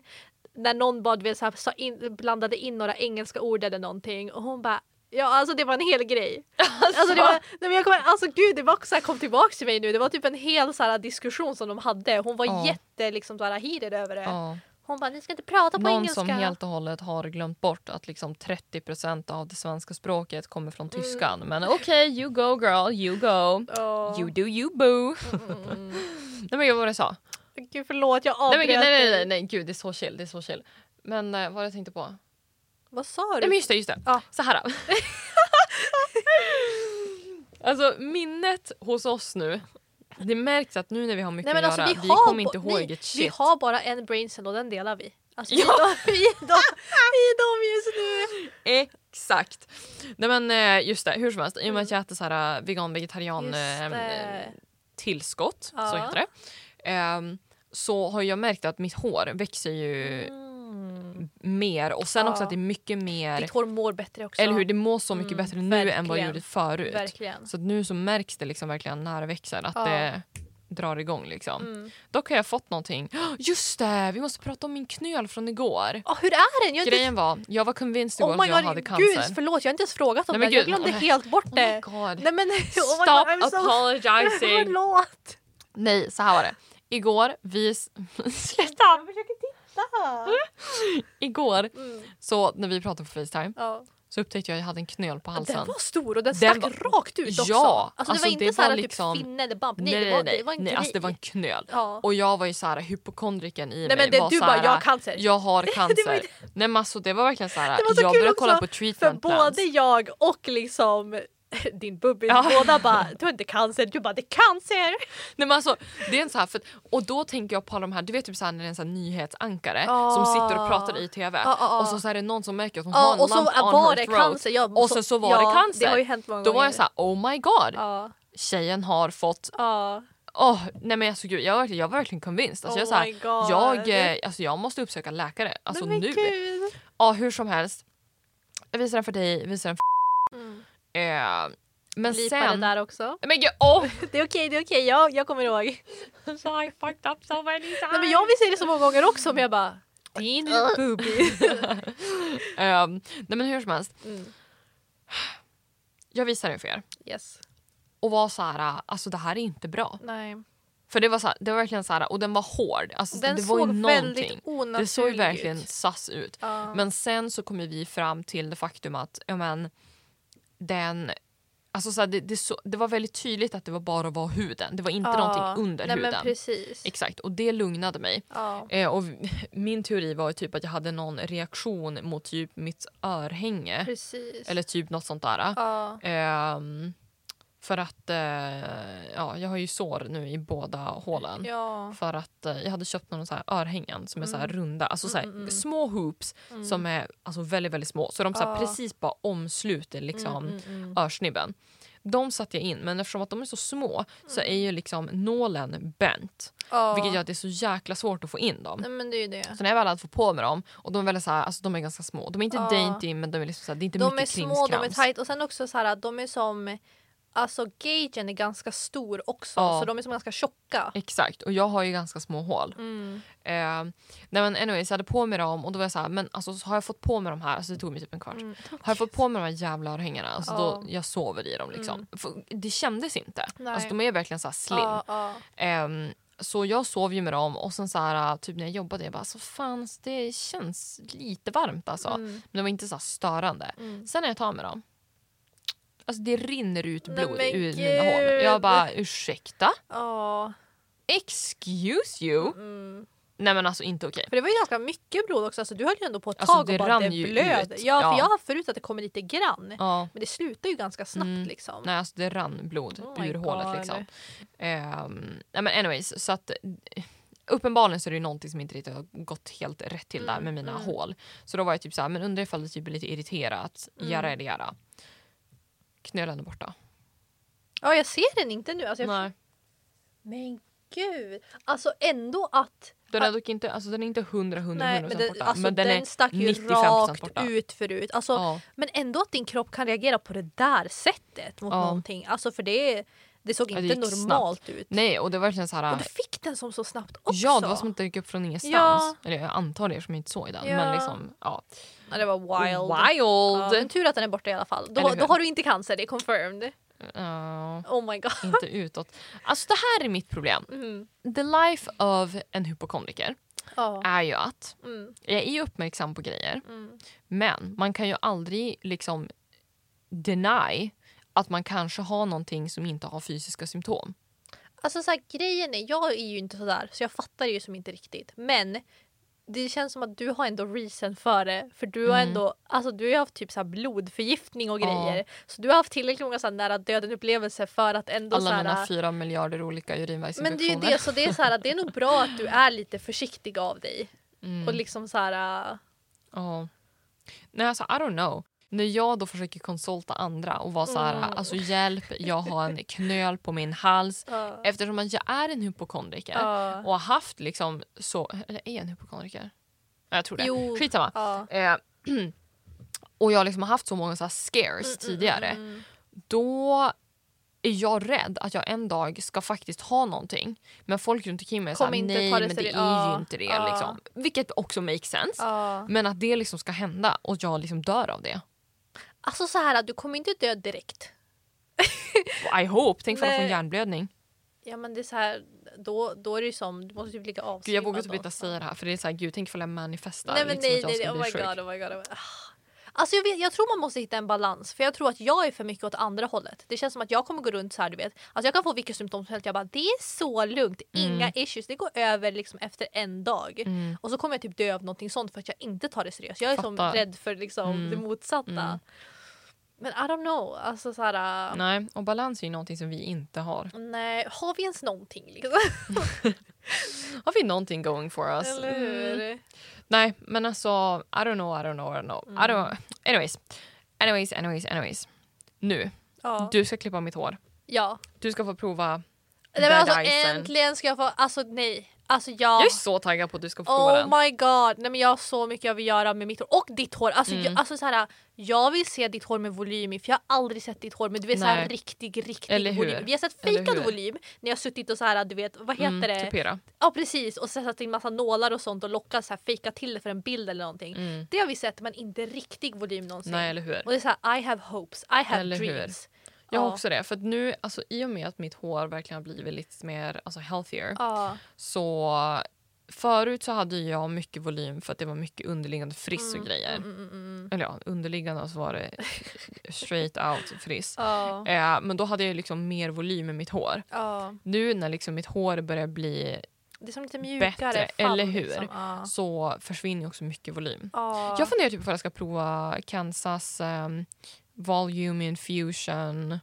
Speaker 2: När någon bara, du vet, så här, sa in, blandade in några engelska ord eller någonting och hon bara Ja, alltså det var en hel grej. Alltså, det var, nej, men jag kommer, alltså gud, det var också, så här, kom tillbaka till mig nu. Det var typ en hel så här, diskussion som de hade. Hon var
Speaker 1: Ja.
Speaker 2: jätte liksom, så här, heated över det.
Speaker 1: Ja.
Speaker 2: Hon bara, ni ska inte prata på
Speaker 1: Någon
Speaker 2: engelska.
Speaker 1: som helt och hållet har glömt bort att liksom 30 av det svenska språket kommer från
Speaker 2: Mm.
Speaker 1: tyskan. Men okej, you go girl, you go.
Speaker 2: Ja.
Speaker 1: You do you boo. nej men jag vad jag sa.
Speaker 2: Mm, Gud förlåt, jag
Speaker 1: Nej,
Speaker 2: avbröt
Speaker 1: men, gud, nej, nej,
Speaker 2: dig.
Speaker 1: nej, nej gud det är så chill. Det är så chill. Men eh, vad var det jag tänkte på?
Speaker 2: Vad sa du?
Speaker 1: Nej men just det, just det.
Speaker 2: Ja.
Speaker 1: Så här. då. alltså minnet hos oss nu. Det märks att nu när vi har mycket
Speaker 2: Nej, men
Speaker 1: att
Speaker 2: alltså,
Speaker 1: göra, vi,
Speaker 2: vi, har
Speaker 1: kommer inte
Speaker 2: bo-
Speaker 1: ihåg
Speaker 2: nej,
Speaker 1: ett shit.
Speaker 2: Vi har bara en brain cell och den delar vi. Alltså, vi,
Speaker 1: Ja.
Speaker 2: är dem, vi, är dem, vi är dem just nu.
Speaker 1: Exakt. Nej men eh, just det, hur som helst. I och med att jag äter så här eh, vegan vegetarian
Speaker 2: Just
Speaker 1: eh,
Speaker 2: det.
Speaker 1: tillskott, så
Speaker 2: Ja.
Speaker 1: heter det. Ehm, så har jag märkt att mitt hår växer ju
Speaker 2: Mm.
Speaker 1: mer och sen
Speaker 2: Ja.
Speaker 1: också att det är mycket mer,
Speaker 2: Ditt hår mår bättre också. Mm,
Speaker 1: eller hur, det mår så mycket bättre nu än vad det
Speaker 2: verkligen.
Speaker 1: gjorde förut.
Speaker 2: Verkligen.
Speaker 1: Så att nu så märks det liksom verkligen när det växer att
Speaker 2: Ja.
Speaker 1: det drar igång liksom.
Speaker 2: Mm.
Speaker 1: Dock har jag fått någonting, just det, vi måste prata om min knöl från igår.
Speaker 2: Ja, hur är den? Jag har inte
Speaker 1: Grejen var, jag var convinced igår
Speaker 2: Oh
Speaker 1: att
Speaker 2: my
Speaker 1: Typ jag hade
Speaker 2: god,
Speaker 1: cancer.
Speaker 2: gud förlåt jag har inte ens frågat om
Speaker 1: Nej, men
Speaker 2: det. Jag
Speaker 1: gud.
Speaker 2: glömde helt bort
Speaker 1: Oh my
Speaker 2: det.
Speaker 1: god.
Speaker 2: Nej men oh my god,
Speaker 1: Stop
Speaker 2: I'm so-
Speaker 1: apologizing!
Speaker 2: Förlåt!
Speaker 1: Nej, så här var det. Igår, vi... s- Sluta!
Speaker 2: Jag försöker titta.
Speaker 1: Igår,
Speaker 2: Mm.
Speaker 1: så när vi pratade på Facetime,
Speaker 2: Ja.
Speaker 1: så upptäckte jag att jag hade en knöl på halsen.
Speaker 2: Den var stor och
Speaker 1: Den
Speaker 2: den stack
Speaker 1: var-
Speaker 2: rakt ut också.
Speaker 1: Ja,
Speaker 2: alltså, det
Speaker 1: alltså,
Speaker 2: var inte
Speaker 1: det
Speaker 2: så här
Speaker 1: var
Speaker 2: typ
Speaker 1: liksom-
Speaker 2: finne eller bump. Nej, det, var, det var en
Speaker 1: nej,
Speaker 2: grej.
Speaker 1: alltså det var en knöl.
Speaker 2: Ja.
Speaker 1: Och jag var ju så här hypokondriken i
Speaker 2: Nej
Speaker 1: mig.
Speaker 2: men det,
Speaker 1: var
Speaker 2: du
Speaker 1: så här,
Speaker 2: bara jag har cancer.
Speaker 1: jag har
Speaker 2: var
Speaker 1: cancer.
Speaker 2: inte-
Speaker 1: nej men alltså det var verkligen så här.
Speaker 2: Det var så
Speaker 1: jag
Speaker 2: kul
Speaker 1: började
Speaker 2: också,
Speaker 1: kolla på
Speaker 2: För
Speaker 1: treatment plans.
Speaker 2: både jag och liksom din bubbis,
Speaker 1: Ja.
Speaker 2: båda bara du har inte cancer, du bara det är cancer!
Speaker 1: Nej, men alltså, det är en så här, för, och då tänker jag på alla de här, du vet typ så här, när det är en så här nyhetsankare
Speaker 2: Ja.
Speaker 1: som sitter och pratar i tv
Speaker 2: Ja, ja, ja.
Speaker 1: och så, så är det någon som märker att hon har
Speaker 2: Ja,
Speaker 1: en
Speaker 2: Ah, och så
Speaker 1: lump on
Speaker 2: var
Speaker 1: her
Speaker 2: det
Speaker 1: throat
Speaker 2: cancer. Ja,
Speaker 1: och
Speaker 2: så-
Speaker 1: sen så var det
Speaker 2: ja,
Speaker 1: cancer.
Speaker 2: Det har ju hänt många
Speaker 1: Då
Speaker 2: gånger.
Speaker 1: var jag så här, oh my god,
Speaker 2: Ja,
Speaker 1: tjejen har fått,
Speaker 2: ja.
Speaker 1: åh nej men alltså gud jag var verkligen, jag var verkligen convinced. Alltså,
Speaker 2: Oh
Speaker 1: jag, så här,
Speaker 2: my god.
Speaker 1: jag, eh, alltså, jag måste uppsöka läkare, alltså
Speaker 2: men
Speaker 1: nu.
Speaker 2: Gud.
Speaker 1: Ja hur som helst, jag visar den för dig, jag visar den för
Speaker 2: Mm.
Speaker 1: eh, Men
Speaker 2: Blipa
Speaker 1: sen,
Speaker 2: det där också.
Speaker 1: men gud åh!
Speaker 2: Det är okej, det är okej. Jag, jag kommer ihåg.
Speaker 1: så I fucked up so many times.
Speaker 2: Nej, men jag vill säga det så många gånger också men jag bara din booby.
Speaker 1: Ehm, nej men hur som helst,
Speaker 2: Mm.
Speaker 1: jag visar den för er.
Speaker 2: Yes.
Speaker 1: och var så här, alltså det här är inte bra.
Speaker 2: Nej.
Speaker 1: För det var, så här, det var verkligen så här, och den var hård. Alltså,
Speaker 2: Den
Speaker 1: det var
Speaker 2: såg
Speaker 1: ju någonting.
Speaker 2: väldigt onaturlig
Speaker 1: Det såg ju verkligen
Speaker 2: ut.
Speaker 1: sass ut.
Speaker 2: Ja.
Speaker 1: Men sen så kommer vi fram till det faktum att ja, men, den, alltså så här, det, det, så, det var väldigt tydligt att det var bara var huden. Det var inte
Speaker 2: Ja.
Speaker 1: någonting under
Speaker 2: Nej, Men
Speaker 1: huden.
Speaker 2: precis.
Speaker 1: Exakt, och det lugnade mig.
Speaker 2: Ja.
Speaker 1: Eh, och v- min teori var ju typ att jag hade någon reaktion mot typ mitt örhänge.
Speaker 2: Precis.
Speaker 1: Eh, Eller typ något sånt där.
Speaker 2: Ja.
Speaker 1: Ehm, för att eh, ja, jag har ju sår nu i båda hålen.
Speaker 2: Ja. Mm.
Speaker 1: För att eh, jag hade köpt någon så här örhängen som är så här runda, alltså så här, små hoops som är alltså väldigt väldigt små. Så de så här
Speaker 2: Ja.
Speaker 1: precis bara omsluter liksom
Speaker 2: Mm, mm, mm.
Speaker 1: örsnibben. de satte jag in, men eftersom att de är så små så är ju liksom nålen bänt.
Speaker 2: Mm. Ja.
Speaker 1: Vilket gör att det är så jäkla svårt att få in dem.
Speaker 2: Nej men det är ju det.
Speaker 1: Så när jag väl hade fått på mig dem, och de är, väldigt så här, alltså, de är ganska små. De är inte
Speaker 2: Ja.
Speaker 1: dainty men de är liksom så här, det är inte
Speaker 2: De är
Speaker 1: mycket
Speaker 2: små, de är
Speaker 1: krimskrams.
Speaker 2: tight och sen också så här att de är som Alltså gagen är ganska stor också
Speaker 1: Ja.
Speaker 2: så de är som ganska tjocka.
Speaker 1: Exakt, och jag har ju ganska små hål.
Speaker 2: Mm.
Speaker 1: Eh, nej men anyways, jag hade på mig dem och då var jag så här, men alltså, så har jag fått på mig de här, alltså, det tog mig typ en kvart.
Speaker 2: Mm.
Speaker 1: Har jag fått på mig de här jävla örhängena, alltså,
Speaker 2: Ja.
Speaker 1: då, jag sover i dem liksom.
Speaker 2: Mm.
Speaker 1: För det kändes inte.
Speaker 2: Nej.
Speaker 1: Alltså, de är verkligen så här slim.
Speaker 2: Ja, ja.
Speaker 1: Ehm, så jag sov ju med dem och sen så här, typ när jag jobbade jag bara så fan alltså, det känns lite varmt alltså.
Speaker 2: Mm.
Speaker 1: Men det var inte så här störande.
Speaker 2: Mm.
Speaker 1: Sen när jag tar med dem, alltså det rinner ut
Speaker 2: Nej,
Speaker 1: blod
Speaker 2: men
Speaker 1: ur mina hål. Jag
Speaker 2: gud.
Speaker 1: bara ursäkta?
Speaker 2: Ja.
Speaker 1: Excuse you?
Speaker 2: Mm.
Speaker 1: Nej men alltså inte okej.
Speaker 2: För det var ju ganska mycket blod också, alltså, du höll ju ändå på ett
Speaker 1: Alltså,
Speaker 2: tag
Speaker 1: det
Speaker 2: och bara
Speaker 1: rann
Speaker 2: det
Speaker 1: ju
Speaker 2: blöd.
Speaker 1: ut. Ja.
Speaker 2: Ja, för jag har haft förut att det kommer lite grann.
Speaker 1: Ja.
Speaker 2: Men det slutar ju ganska snabbt
Speaker 1: Mm.
Speaker 2: liksom.
Speaker 1: Nej alltså det rann blod
Speaker 2: Oh my
Speaker 1: ur hålet
Speaker 2: God.
Speaker 1: liksom. Ehm, nej men anyways så att eh, uppenbarligen så är det ju någonting som inte riktigt har gått helt rätt till där
Speaker 2: Mm,
Speaker 1: med mina
Speaker 2: mm.
Speaker 1: hål. Så då var jag typ så här, men undrar ifall det typ är lite irriterat.
Speaker 2: Mm.
Speaker 1: Göra eller göra. Knölen är borta.
Speaker 2: Ja, jag ser den inte nu. Alltså, jag...
Speaker 1: Nej.
Speaker 2: Men gud! Alltså ändå att...
Speaker 1: Den är dock inte, alltså den är inte 100 100
Speaker 2: Nej,
Speaker 1: 100%
Speaker 2: men, den,
Speaker 1: borta.
Speaker 2: alltså,
Speaker 1: men den,
Speaker 2: den,
Speaker 1: är
Speaker 2: stack ju
Speaker 1: 95%
Speaker 2: rakt
Speaker 1: borta.
Speaker 2: ut förut. Alltså,
Speaker 1: ja.
Speaker 2: Men ändå att din kropp kan reagera på det där sättet mot
Speaker 1: Ja.
Speaker 2: någonting. Alltså för det, det såg
Speaker 1: Ja,
Speaker 2: inte
Speaker 1: det gick
Speaker 2: normalt ut.
Speaker 1: Nej och det var verkligen så
Speaker 2: Och
Speaker 1: här.
Speaker 2: du fick den som så snabbt också.
Speaker 1: Ah. Ja det var som att det gick upp från ingenstans.
Speaker 2: Ja.
Speaker 1: Eller jag antar det som jag inte såg den.
Speaker 2: Ja.
Speaker 1: Men liksom ja.
Speaker 2: ja, det var wild. Ja,
Speaker 1: Wild.
Speaker 2: men tur att den är borta i alla fall.
Speaker 1: Eller
Speaker 2: Då,
Speaker 1: hur?
Speaker 2: då har du inte cancer, det är confirmed.
Speaker 1: Ja,
Speaker 2: Oh my god.
Speaker 1: inte utåt. Alltså det här är mitt problem.
Speaker 2: Mm.
Speaker 1: The life of en hypokondriker
Speaker 2: Ja.
Speaker 1: är ju att
Speaker 2: Mm.
Speaker 1: jag är ju uppmärksam på grejer
Speaker 2: Mm.
Speaker 1: men man kan ju aldrig liksom deny att man kanske har någonting som inte har fysiska symptom.
Speaker 2: Alltså så här, grejen är, jag är ju inte sådär så jag fattar ju som inte riktigt. Men det känns som att du har ändå reason för det. För du har
Speaker 1: Mm.
Speaker 2: ändå, alltså du har ju haft typ så här blodförgiftning och
Speaker 1: Ja.
Speaker 2: grejer. Så du har haft tillräckligt många så här nära döden upplevelser för att ändå så
Speaker 1: Alla
Speaker 2: här, äh,
Speaker 1: mina fyra miljarder olika
Speaker 2: Men det är ju
Speaker 1: urinvägsinfektioner.
Speaker 2: det, så det är så här, det är nog bra att du är lite försiktig av dig.
Speaker 1: Mm.
Speaker 2: Och liksom så här, äh,
Speaker 1: Ja. Nej, alltså I don't know. När jag då försöker konsulta andra och vara så här,
Speaker 2: Mm.
Speaker 1: alltså hjälp, jag har en knöl på min hals.
Speaker 2: ja,
Speaker 1: Eftersom att jag är en hypokondriker
Speaker 2: ja,
Speaker 1: och har haft liksom så... Eller är jag en hypokondriker? Ja, Jag tror det.
Speaker 2: Jo.
Speaker 1: Skitsamma.
Speaker 2: ja.
Speaker 1: Eh, och jag liksom har haft så många så här scares tidigare.
Speaker 2: mm.
Speaker 1: Då är jag rädd att jag en dag ska faktiskt ha någonting. Men folk runt omkring mig är
Speaker 2: Kom
Speaker 1: såhär,
Speaker 2: inte
Speaker 1: nej
Speaker 2: ta det Ah.
Speaker 1: men det
Speaker 2: seri-
Speaker 1: är ju
Speaker 2: ja,
Speaker 1: inte det.
Speaker 2: ja.
Speaker 1: Liksom. Vilket också makes sense.
Speaker 2: Ja.
Speaker 1: Men att det liksom ska hända och jag liksom dör av det.
Speaker 2: Alltså så här, du kommer inte dö direkt.
Speaker 1: I hope! Tänk om jag får en
Speaker 2: Nej.
Speaker 1: hjärnblödning.
Speaker 2: Ja men det är så här, då, då är det ju som, du måste typ ligga avsvimmad.
Speaker 1: Gud, jag vågar typ
Speaker 2: då.
Speaker 1: inte säga det här för det är såhär, gud tänk ifall jag manifestar
Speaker 2: Nej men
Speaker 1: liksom,
Speaker 2: nej,
Speaker 1: att jag
Speaker 2: nej,
Speaker 1: ska
Speaker 2: nej.
Speaker 1: bli
Speaker 2: Oh my
Speaker 1: sjuk.
Speaker 2: god, oh my god. Oh my. god. Alltså jag, vet, jag tror man måste hitta en balans för jag tror att jag är för mycket åt andra hållet. Det känns som att jag kommer gå runt så här du vet. Alltså jag kan få vilka symptom som helst. Jag bara det är så lugnt, inga issues. Det går över liksom efter en dag.
Speaker 1: Mm.
Speaker 2: Och så kommer jag typ dö av någonting sånt för att jag inte tar det seriöst. Jag är som
Speaker 1: Fattar.
Speaker 2: rädd för liksom
Speaker 1: Mm.
Speaker 2: det motsatta.
Speaker 1: Mm.
Speaker 2: Men I don't know. Alltså så här, äh,
Speaker 1: Nej, och balans är ju någonting som vi inte har.
Speaker 2: nej, har vi ens någonting liksom?
Speaker 1: Har vi någonting going for us?
Speaker 2: Eller hur?
Speaker 1: Mm. Nej, men alltså I don't know, I don't know, I don't know. I
Speaker 2: Mm.
Speaker 1: don't... Anyways. anyways, anyways, anyways. Nu,
Speaker 2: Ja.
Speaker 1: du ska klippa mitt hår.
Speaker 2: ja.
Speaker 1: Du ska få prova
Speaker 2: Nej, men alltså,
Speaker 1: Dyson.
Speaker 2: äntligen ska jag få, alltså nej. Alltså jag...
Speaker 1: Jag är så taggad på att du ska få prova den.
Speaker 2: Oh my god! Nej, men jag har så mycket jag vill göra med mitt hår och ditt hår. Alltså,
Speaker 1: Mm.
Speaker 2: jag, alltså, så här, jag vill se ditt hår med volym i för jag har aldrig sett ditt hår med du vet, så
Speaker 1: Nej.
Speaker 2: här, riktig, riktig
Speaker 1: Eller hur?
Speaker 2: volym. Vi har sett
Speaker 1: Eller
Speaker 2: fejkad
Speaker 1: hur?
Speaker 2: volym när jag har suttit och så här, du vet, vad heter
Speaker 1: Mm,
Speaker 2: det?
Speaker 1: Tupera.
Speaker 2: Ja precis och så satt in massa nålar och sånt och lockat så här, fejka till det för en bild eller någonting.
Speaker 1: Mm.
Speaker 2: Det har vi sett men inte riktig volym någonsin.
Speaker 1: Nej, eller hur?
Speaker 2: Och det är så här, I have hopes, I have
Speaker 1: Eller hur?
Speaker 2: dreams.
Speaker 1: Jag har
Speaker 2: Ja.
Speaker 1: också det. För att nu, alltså, I och med att mitt hår verkligen har blivit lite mer alltså, healthier
Speaker 2: Ja.
Speaker 1: så förut så hade jag mycket volym för att det var mycket underliggande friss och
Speaker 2: Mm,
Speaker 1: grejer.
Speaker 2: Mm, mm, mm.
Speaker 1: Eller ja, underliggande och så var det straight out friss.
Speaker 2: Ja.
Speaker 1: Eh, men då hade jag liksom mer volym i mitt hår.
Speaker 2: Ja.
Speaker 1: Nu när liksom mitt hår börjar bli
Speaker 2: Det är som lite mjukare
Speaker 1: Bättre,
Speaker 2: fall,
Speaker 1: eller hur?
Speaker 2: Liksom. Ja.
Speaker 1: så försvinner ju också mycket volym.
Speaker 2: Ja.
Speaker 1: Jag funderar typ på att jag ska prova Kansas ehm, Volume Infusion.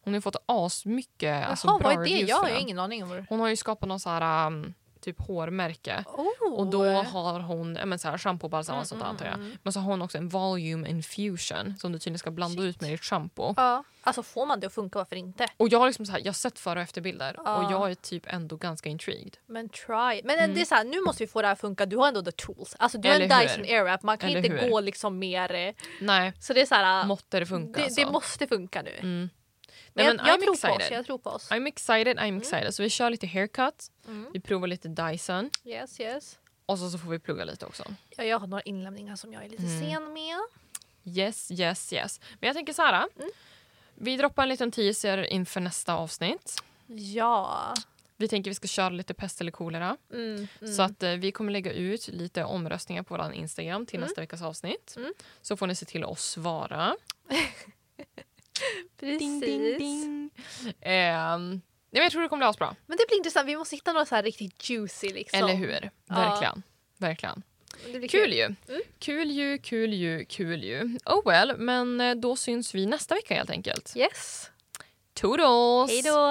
Speaker 1: Hon har ju fått asmycket alltså,
Speaker 2: Jaha,
Speaker 1: bra
Speaker 2: vad är det?
Speaker 1: reviews
Speaker 2: Jag
Speaker 1: för
Speaker 2: har ju
Speaker 1: den.
Speaker 2: ingen aning om vad det
Speaker 1: Hon har ju skapat någon så här um, typ hårmärke.
Speaker 2: Oh.
Speaker 1: Och då har hon ja, men så här, shampoo, balsam och sånt antar
Speaker 2: Mm,
Speaker 1: jag. Men så har hon också en volume infusion som du tydligen ska blanda ut med ditt shampoo.
Speaker 2: Ja. Alltså får man det att funka, varför inte?
Speaker 1: Och jag har, liksom så här, jag har sett före och efterbilder
Speaker 2: Ja.
Speaker 1: och jag är typ ändå ganska intrigued.
Speaker 2: Men try. Men det är så här, nu måste vi få det här att funka. Du har ändå the tools. Alltså du har en
Speaker 1: Mm. Eller hur?
Speaker 2: Dyson Airwrap. Man kan
Speaker 1: Eller
Speaker 2: inte
Speaker 1: hur?
Speaker 2: gå liksom mer. eh,
Speaker 1: Nej,
Speaker 2: Så det är så här.
Speaker 1: måtte det funka
Speaker 2: det,
Speaker 1: alltså.
Speaker 2: det måste funka nu.
Speaker 1: Mm.
Speaker 2: Men,
Speaker 1: Nej, men
Speaker 2: jag, jag,
Speaker 1: I'm
Speaker 2: tror på oss,
Speaker 1: excited.
Speaker 2: jag tror på oss.
Speaker 1: I'm excited, I'm excited. Så vi kör lite haircut,
Speaker 2: Mm.
Speaker 1: vi provar lite Dyson
Speaker 2: Yes, yes.
Speaker 1: och så, så får vi plugga lite också.
Speaker 2: Ja, jag har några inlämningar som jag är lite
Speaker 1: Mm.
Speaker 2: sen med.
Speaker 1: Yes, yes, yes. Men jag tänker så här.
Speaker 2: Mm.
Speaker 1: Vi droppar en liten teaser inför nästa avsnitt.
Speaker 2: Ja.
Speaker 1: Vi tänker vi ska köra lite pest eller kolera.
Speaker 2: Mm, mm.
Speaker 1: Så att eh, vi kommer lägga ut lite omröstningar på vår Instagram till nästa veckas avsnitt.
Speaker 2: Mm.
Speaker 1: Så får ni se till att svara.
Speaker 2: Precis.
Speaker 1: Ehm, nej, men jag tror det kommer bli asbra.
Speaker 2: Men det blir intressant. Vi måste hitta något så här riktigt juicy liksom.
Speaker 1: Eller hur?
Speaker 2: Ja.
Speaker 1: Verkligen. Verkligen.
Speaker 2: Det blir
Speaker 1: Kul ju. Kul ju, kul ju, kul ju. Oh well, men eh, då syns vi nästa vecka helt enkelt.
Speaker 2: Yes.
Speaker 1: Toodles!
Speaker 2: Hej då.